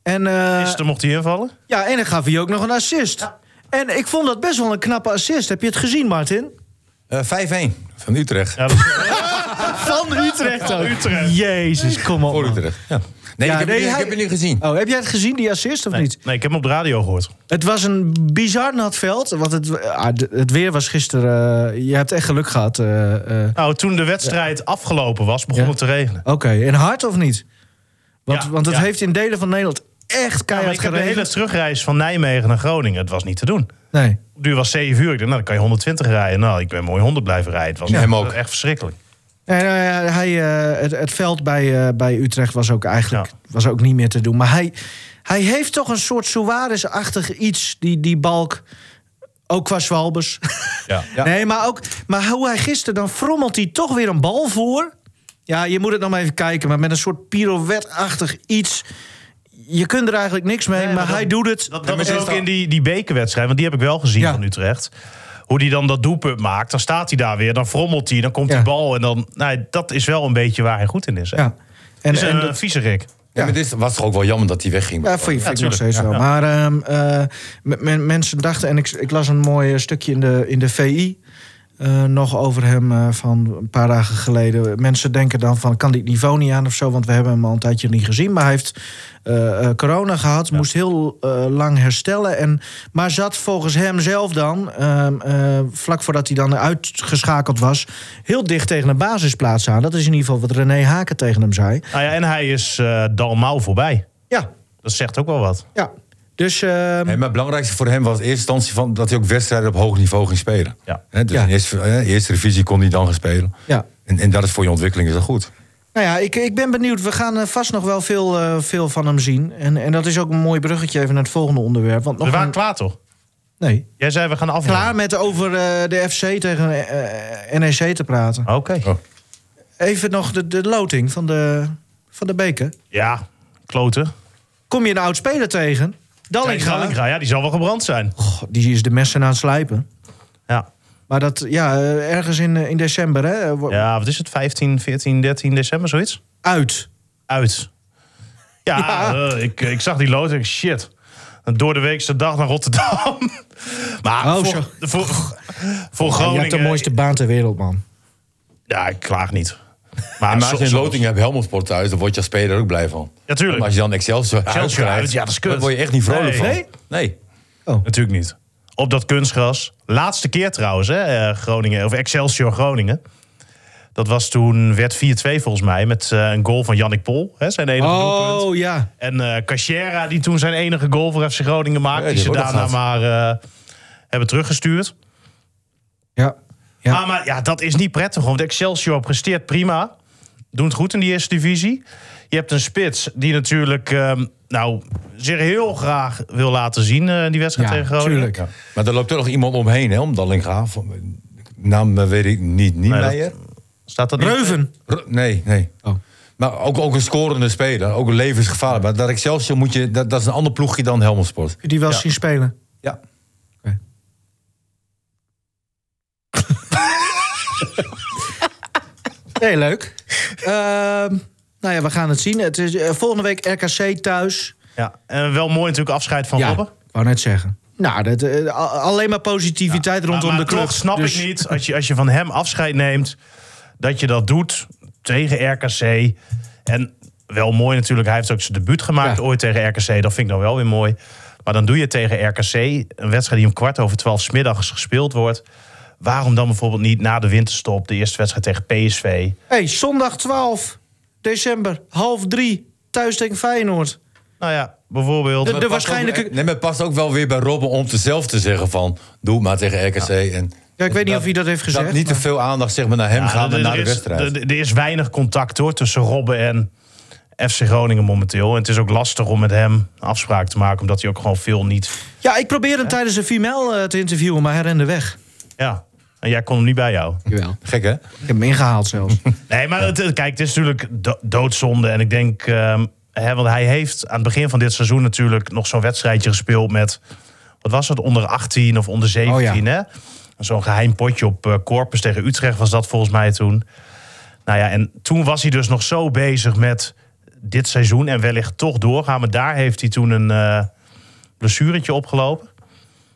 En, eh,
Gisteren mocht hij invallen.
ja, en dan gaf hij ook nog een assist. En ik vond dat best wel een knappe assist. Heb je het gezien, Martin?
Eh, 5-1 van Utrecht.
(laughs)
Ja, dat is-
Van Utrecht ook.
Utrecht.
Jezus, kom op.
Voor
man.
Utrecht. Ja. Nee,
Ja,
ik, heb,
nee,
het niet-
hij-
ik heb het niet gezien.
Oh, heb jij het gezien, die assist, of
nee.
niet?
nee, ik heb hem op de radio gehoord.
Het was een bizar nat veld. Want het, ah, d- het weer was gisteren... eh, je hebt echt geluk gehad. eh, eh.
Nou, toen de wedstrijd afgelopen was, begon
Ja.
het te regenen.
Oké, en hard of niet? Want,
Ja,
want het
ja.
heeft in delen van Nederland echt
Ja, maar
keihard
ik heb de hele
geregend.
terugreis van Nijmegen naar Groningen. Het was niet te doen.
Nee.
Het duur was 7 uur. Ik dacht, nou, dan kan je 120 rijden. Nou, ik ben mooi 100 blijven rijden. Het was
Ja,
echt,
hem ook.
echt verschrikkelijk.
Nee, nou ja, hij, eh, het, het veld bij, eh, bij Utrecht was ook eigenlijk
Ja.
was ook niet meer te doen. Maar hij, hij heeft toch een soort Suarez-achtig iets, die, die balk. Ook qua Zwalbers.
(laughs) Ja.
Nee, maar, ook, maar hoe hij gisteren, dan frommelt hij toch weer een bal voor. Ja, je moet het nog maar even kijken, maar met een soort pirouette-achtig iets. Je kunt er eigenlijk niks mee,
Nee,
maar,
maar
hij doet het.
Dat,
Ja,
dat
maar
is
dit
ook
is dan-
in die, die bekerwedstrijd, want die heb ik wel gezien
Ja.
van Utrecht. Hoe die dan dat doelpunt maakt, dan staat hij daar weer, dan frommelt hij, dan komt
Ja.
die bal. En dan, nou, dat is wel een beetje waar hij goed in is. hè.
ja. En,
is een
dat-
eh, vieze Rick.
Ja, maar dit was toch ook wel jammer dat hij wegging.
Ja, voor je vind ik nog
tuurlijk.
steeds wel. Maar ehm, eh, m- m- mensen dachten, en ik, ik las een mooi eh, stukje in de, in de VI eh, nog over hem eh, van een paar dagen geleden. Mensen denken dan van, kan dit niveau niet aan of zo? Want we hebben hem al een tijdje niet gezien. Maar hij heeft eh, eh, corona gehad, moest heel eh, lang herstellen. En, maar zat volgens hem zelf dan, ehm, eh, vlak voordat hij dan uitgeschakeld was... heel dicht tegen een basisplaats aan. Dat is in ieder geval wat René Haken tegen hem zei.
Nou ja, en hij is eh Dalmau voorbij.
Ja,
Dat zegt ook wel wat.
ja. Dus... ehm,
Nee, maar het belangrijkste voor hem was in eerste instantie van, dat hij ook wedstrijden op hoog niveau ging spelen.
Ja.
Hè, dus
Ja.
in eerste, hè, eerste divisie kon hij dan gaan spelen.
Ja.
En, en dat is voor je ontwikkeling is dat goed.
Nou ja, ik, ik ben benieuwd. We gaan eh, vast nog wel veel, eh, veel van hem zien. En, en dat is ook een mooi bruggetje even naar het volgende onderwerp. Want nog
we waren
een-
klaar toch?
nee,
Jij zei, we gaan afnemen.
klaar met over eh, de FC tegen eh, NEC te praten.
Oké.
Oh.
Even nog de, de loting van de, van de beker.
Ja, kloten.
Kom je een oud speler tegen? Dallinga.
Dallinga, ja, die zal wel gebrand zijn.
Goh, die is de messen aan het slijpen.
Ja.
Maar dat, ja, eh, ergens in, eh, in december, hè? eh, wo-
ja, wat is het? 15, 14, 13 december, zoiets?
Uit.
Uit. Ja,
Ja.
eh, ik, ik zag die loting. Shit. Een Door de weekse dag naar Rotterdam. (laughs) Maar
Oh, zo.
voor, voor, voor
Ja, je
Groningen...
hebt de mooiste baan ter wereld, man.
Ja, ik klaag niet.
En maar als
soms-
je een loting hebt, Helmelsport thuis, dan word je als speler ook blij van.
Ja, tuurlijk.
Maar als je dan Excelsior huis
uit,
krijgt,
ja, dat is kut.
dan word je echt niet vrolijk
Nee.
van.
Nee?
Nee.
Natuurlijk niet. Op dat kunstgras. Laatste keer trouwens, hè, eh, Groningen, of Excelsior Groningen. Dat was toen, werd 4-2 volgens mij, met eh, een goal van Jannik Pol. Hè, zijn enige doelpunt.
Oh, ja.
En eh Cachera, die toen zijn enige goal voor FC Groningen maakte.
Ja, die
die ze
wordt
daarna
opgehaald.
maar eh, hebben teruggestuurd.
Ja. Ja.
Maar, maar ja, dat is niet prettig. Want Excelsior presteert prima. Doen het goed in die eerste divisie. Je hebt een spits die natuurlijk ehm, nou, zich heel graag wil laten zien eh, in die wedstrijd
Ja,
tegen Groningen.
tuurlijk.
Ja. Maar daar loopt er nog iemand omheen, hè, om Dallinga. Van- Naam eh, weet ik niet. Niemeyer?
Staat dat niet?
Reuven.
R- Nee, nee.
Oh.
Maar ook, ook een scorende speler. Ook een levensgevaarlijk. Maar dat Excelsior moet je... Dat, dat is een ander ploegje dan Helmond Sport.
Kun je die wel eens
Ja.
zien spelen?
Ja.
Nee, leuk. Ehm, nou ja, we gaan het zien. Het is, eh, volgende week RKC thuis.
Ja, en wel mooi natuurlijk afscheid van
ja,
Robben.
ik wou net zeggen. Nou, dat, eh, a- alleen maar positiviteit
Maar-
rondom
nou, maar
de club.
toch snap
Dus-
ik niet, als je, als je van hem afscheid neemt, dat je dat doet tegen RKC. En wel mooi natuurlijk, hij heeft ook zijn debuut gemaakt
Ja.
ooit tegen RKC. Dat vind ik dan wel weer mooi. Maar dan doe je tegen RKC, een wedstrijd die om kwart over twaalf 's middags gespeeld wordt. Waarom dan bijvoorbeeld niet na de winterstop de eerste wedstrijd tegen PSV?
hey, zondag 12 december, half drie, thuis tegen Feyenoord.
Nou ja, bijvoorbeeld.
De-
Maar het past
waarschijnlijke-
ook- nee, maar het past ook wel weer bij Robben om te zelf te zeggen van... Doe het maar tegen RKC. En
Ja, ik weet niet of hij dat heeft gezegd.
Dat niet te
maar-
veel aandacht zeg maar, naar hem
Ja,
gaan en
er-
naar de
er is-
wedstrijd.
Er, er is weinig contact hoor, tussen Robben en FC Groningen momenteel. En het is ook lastig om met hem afspraak te maken, omdat hij ook gewoon veel niet.
Ja, ik probeerde hem tijdens een female eh, te interviewen, maar hij rende weg.
Ja, en jij kon hem niet bij jou.
Jawel.
Gek, hè?
Ik heb hem ingehaald zelfs. (laughs)
Nee, maar het, kijk, het is natuurlijk do- doodzonde. En ik denk, ehm, hè, want hij heeft aan het begin van dit seizoen natuurlijk nog zo'n wedstrijdje gespeeld met, wat was het, onder 18 of onder 17, hè? Zo'n geheim potje op eh, Corpus tegen Utrecht was dat volgens mij toen. Nou ja, en toen was hij dus nog zo bezig met dit seizoen en wellicht toch doorgaan. Maar daar heeft hij toen een eh blessuretje opgelopen.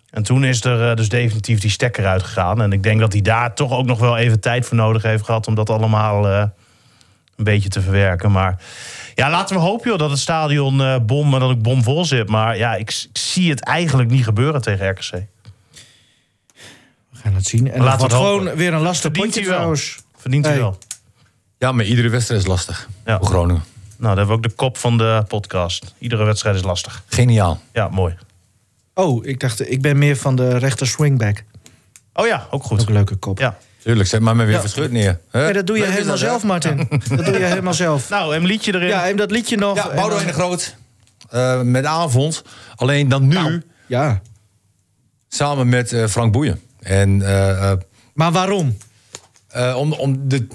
En toen is er eh, dus definitief die stekker uitgegaan. En ik denk dat hij daar toch ook nog wel even tijd voor nodig heeft gehad om dat allemaal eh, een beetje te verwerken. Maar ja, laten we hopen joh, dat het stadion eh, bom en dat het bomvol zit. Maar ja, ik, s- ik zie het eigenlijk niet gebeuren tegen RKC.
We gaan het zien. En
Laten
het wordt
we het
gewoon
hopen.
weer een lastig
Verdient
potje
hij wel.
trouwens.
Verdient hij
Hey.
wel.
Ja, maar iedere wedstrijd is lastig.
Ja.
Voor Groningen.
Nou, dan hebben we ook de kop van de podcast. Iedere wedstrijd is lastig.
Geniaal.
Ja, mooi.
Oh, ik dacht, ik ben meer van de rechter swingback.
Oh ja, ook goed.
Ook een leuke kop.
Ja.
Tuurlijk, zet maar me weer
Ja.
verscheurd neer. Hè?
Nee, dat doe je
Leuk is
helemaal
dat, hè?
zelf, Martin. Dat doe je helemaal zelf.
Nou, een liedje erin.
Ja, en dat liedje nog.
Ja,
en
Boudewijn de
dan-
Groot. eh, met avond. Alleen dan nu
Nou. Ja.
samen met eh, Frank Boeien. En eh, eh,
Maar waarom?
eh, om, om de,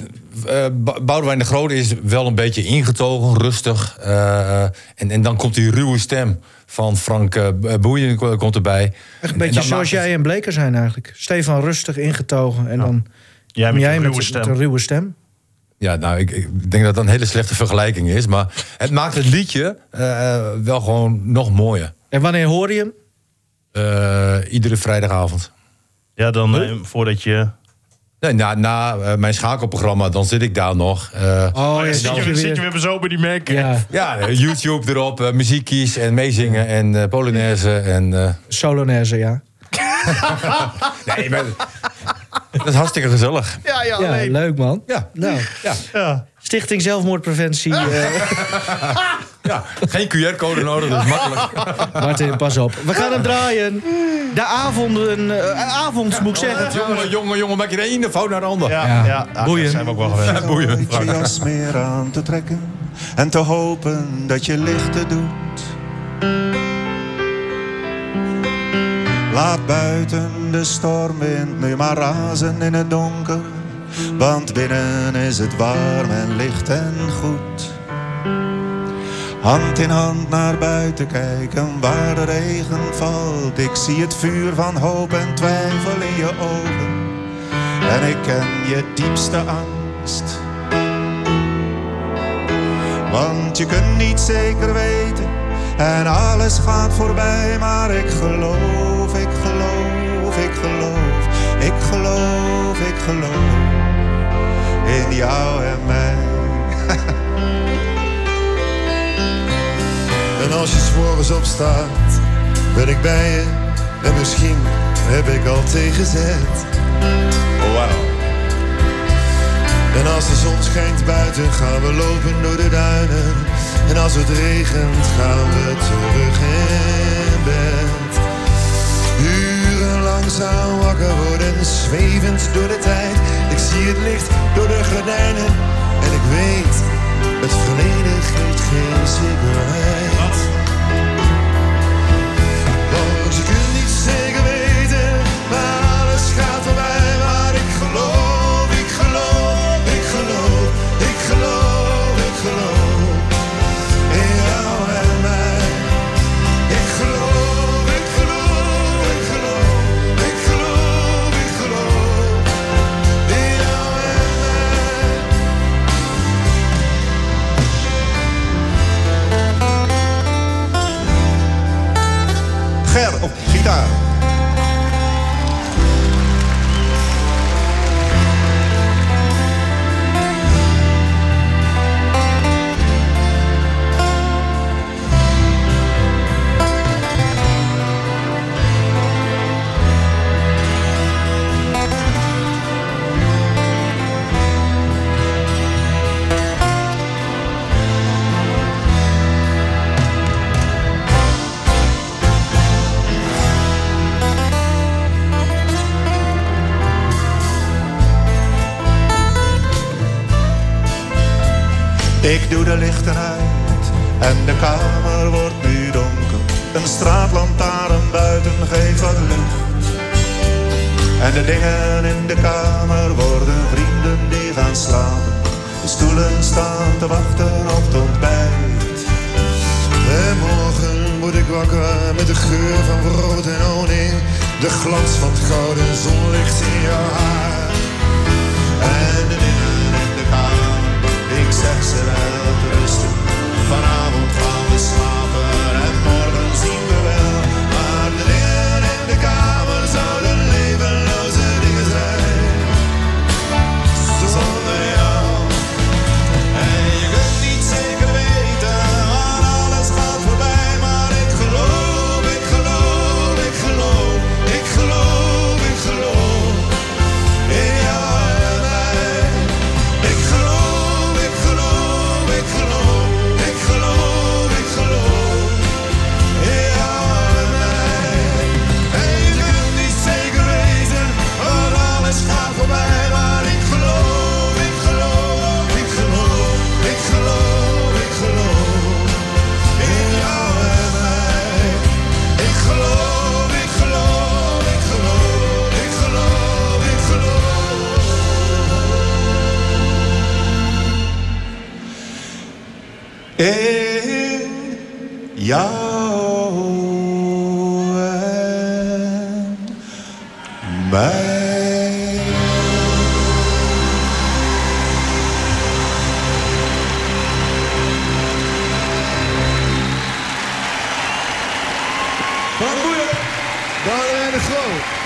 eh, Ba- Boudewijn de Groot is wel een beetje ingetogen, rustig. eh, eh, en, en dan komt die ruwe stem van Frank eh, Boeien ko- komt erbij.
Echt een
En
beetje
dan
zoals
maakt het-
jij en Bleker zijn eigenlijk. Stefan rustig ingetogen en dan
Jij met
kom
je
jij
ruwe
met,
stem.
met een ruwe stem.
Ja, nou, ik, ik denk dat dat een hele slechte vergelijking is. Maar het maakt het liedje eh, wel gewoon nog mooier.
En wanneer hoor je hem?
Eh, iedere vrijdagavond.
Ja, dan eh, voordat je...
Nee, na na eh, mijn schakelprogramma, dan zit ik daar nog. eh,
Oh, ja,
zit,
dan
je,
weer-
zit je weer zo bij die merken.
Ja,
Ja, eh, YouTube erop, eh, muziekjes en meezingen en eh, Polonaise. En, eh,
Solonaise, ja.
nee, maar, dat is hartstikke gezellig.
Ja, ja,
Ja,
nee.
leuk man.
Ja,
Nou,
Ja.
Stichting Zelfmoordpreventie. eh,
ja. geen QR-code nodig, dat is makkelijk.
Martin, pas op. We gaan hem draaien. De avonden, eh, avond moet ik zeggen.
jongen, jongen, jongen, maak je de ene fout naar de andere.
Ja,
Ja.
ja. Ah, dat
Boeien.
zijn we ook wel gewend.
Boeien.
Nooit je jas meer aan te trekken en te hopen dat je lichten doet. Laat buiten de stormwind nu maar razen in het donker, want binnen is het warm en licht en goed. Hand in hand naar buiten kijken waar de regen valt. Ik zie het vuur van hoop en twijfel in je ogen. En ik ken je diepste angst. Want je kunt niet zeker weten en alles gaat voorbij, maar ik geloof, ik geloof, ik geloof, ik geloof, ik geloof in jou en mij. (laughs)
En als je s'morgens opstaat, ben ik bij je. En misschien heb ik al tegenzet.
Oh,
Wauw. En als de zon schijnt buiten, gaan we lopen door de duinen. En als het regent, gaan we terug in bed. Urenlang langzaam wakker worden, zwevend door de tijd. Ik zie het licht door de gordijnen en ik weet, het verleden geeft geen zekerheid. Want je kunt niet zeker weten, maar alles gaat voorbij. Maar ik geloof, ik geloof, ik geloof, ik geloof, ik geloof in jou en mij. Ik geloof, ik geloof, ik geloof, ik geloof, ik geloof in jou en mij.
Ger op gitaar. Ik doe de lichten uit en de kamer wordt nu donker. Een straatlantaarn buiten geeft wat licht. En de dingen in de kamer worden vrienden die gaan slapen. De stoelen staan te wachten op het ontbijt.
En morgen word ik wakker met de geur van brood en honing. De glans van het gouden zonlicht in jouw haar.
En de dingen in de kamer, ik zeg ze wel te rusten. Vanavond gaan we slapen en morgen zien we wel. Maar de dingen in de kamer zouden levenloze dingen zijn. Zonder jou. En je kunt niet zeker weten, want alles gaat voorbij. Maar ik geloof, ik geloof, ik geloof, ik geloof, ik geloof. In jou en mij. Ik geloof, ik geloof, ik geloof, ik geloof, ik geloof. In jou en mij. En je kunt niet zeker weten, want alles gaat voorbij. Maar ik geloof, ik geloof, ik geloof, ik geloof, ik geloof. In jou en mij. Ik geloof, ik geloof, ik geloof, ik geloof, ik geloof.
In jou en mij.
er
Wat boeien! Daar en de groot.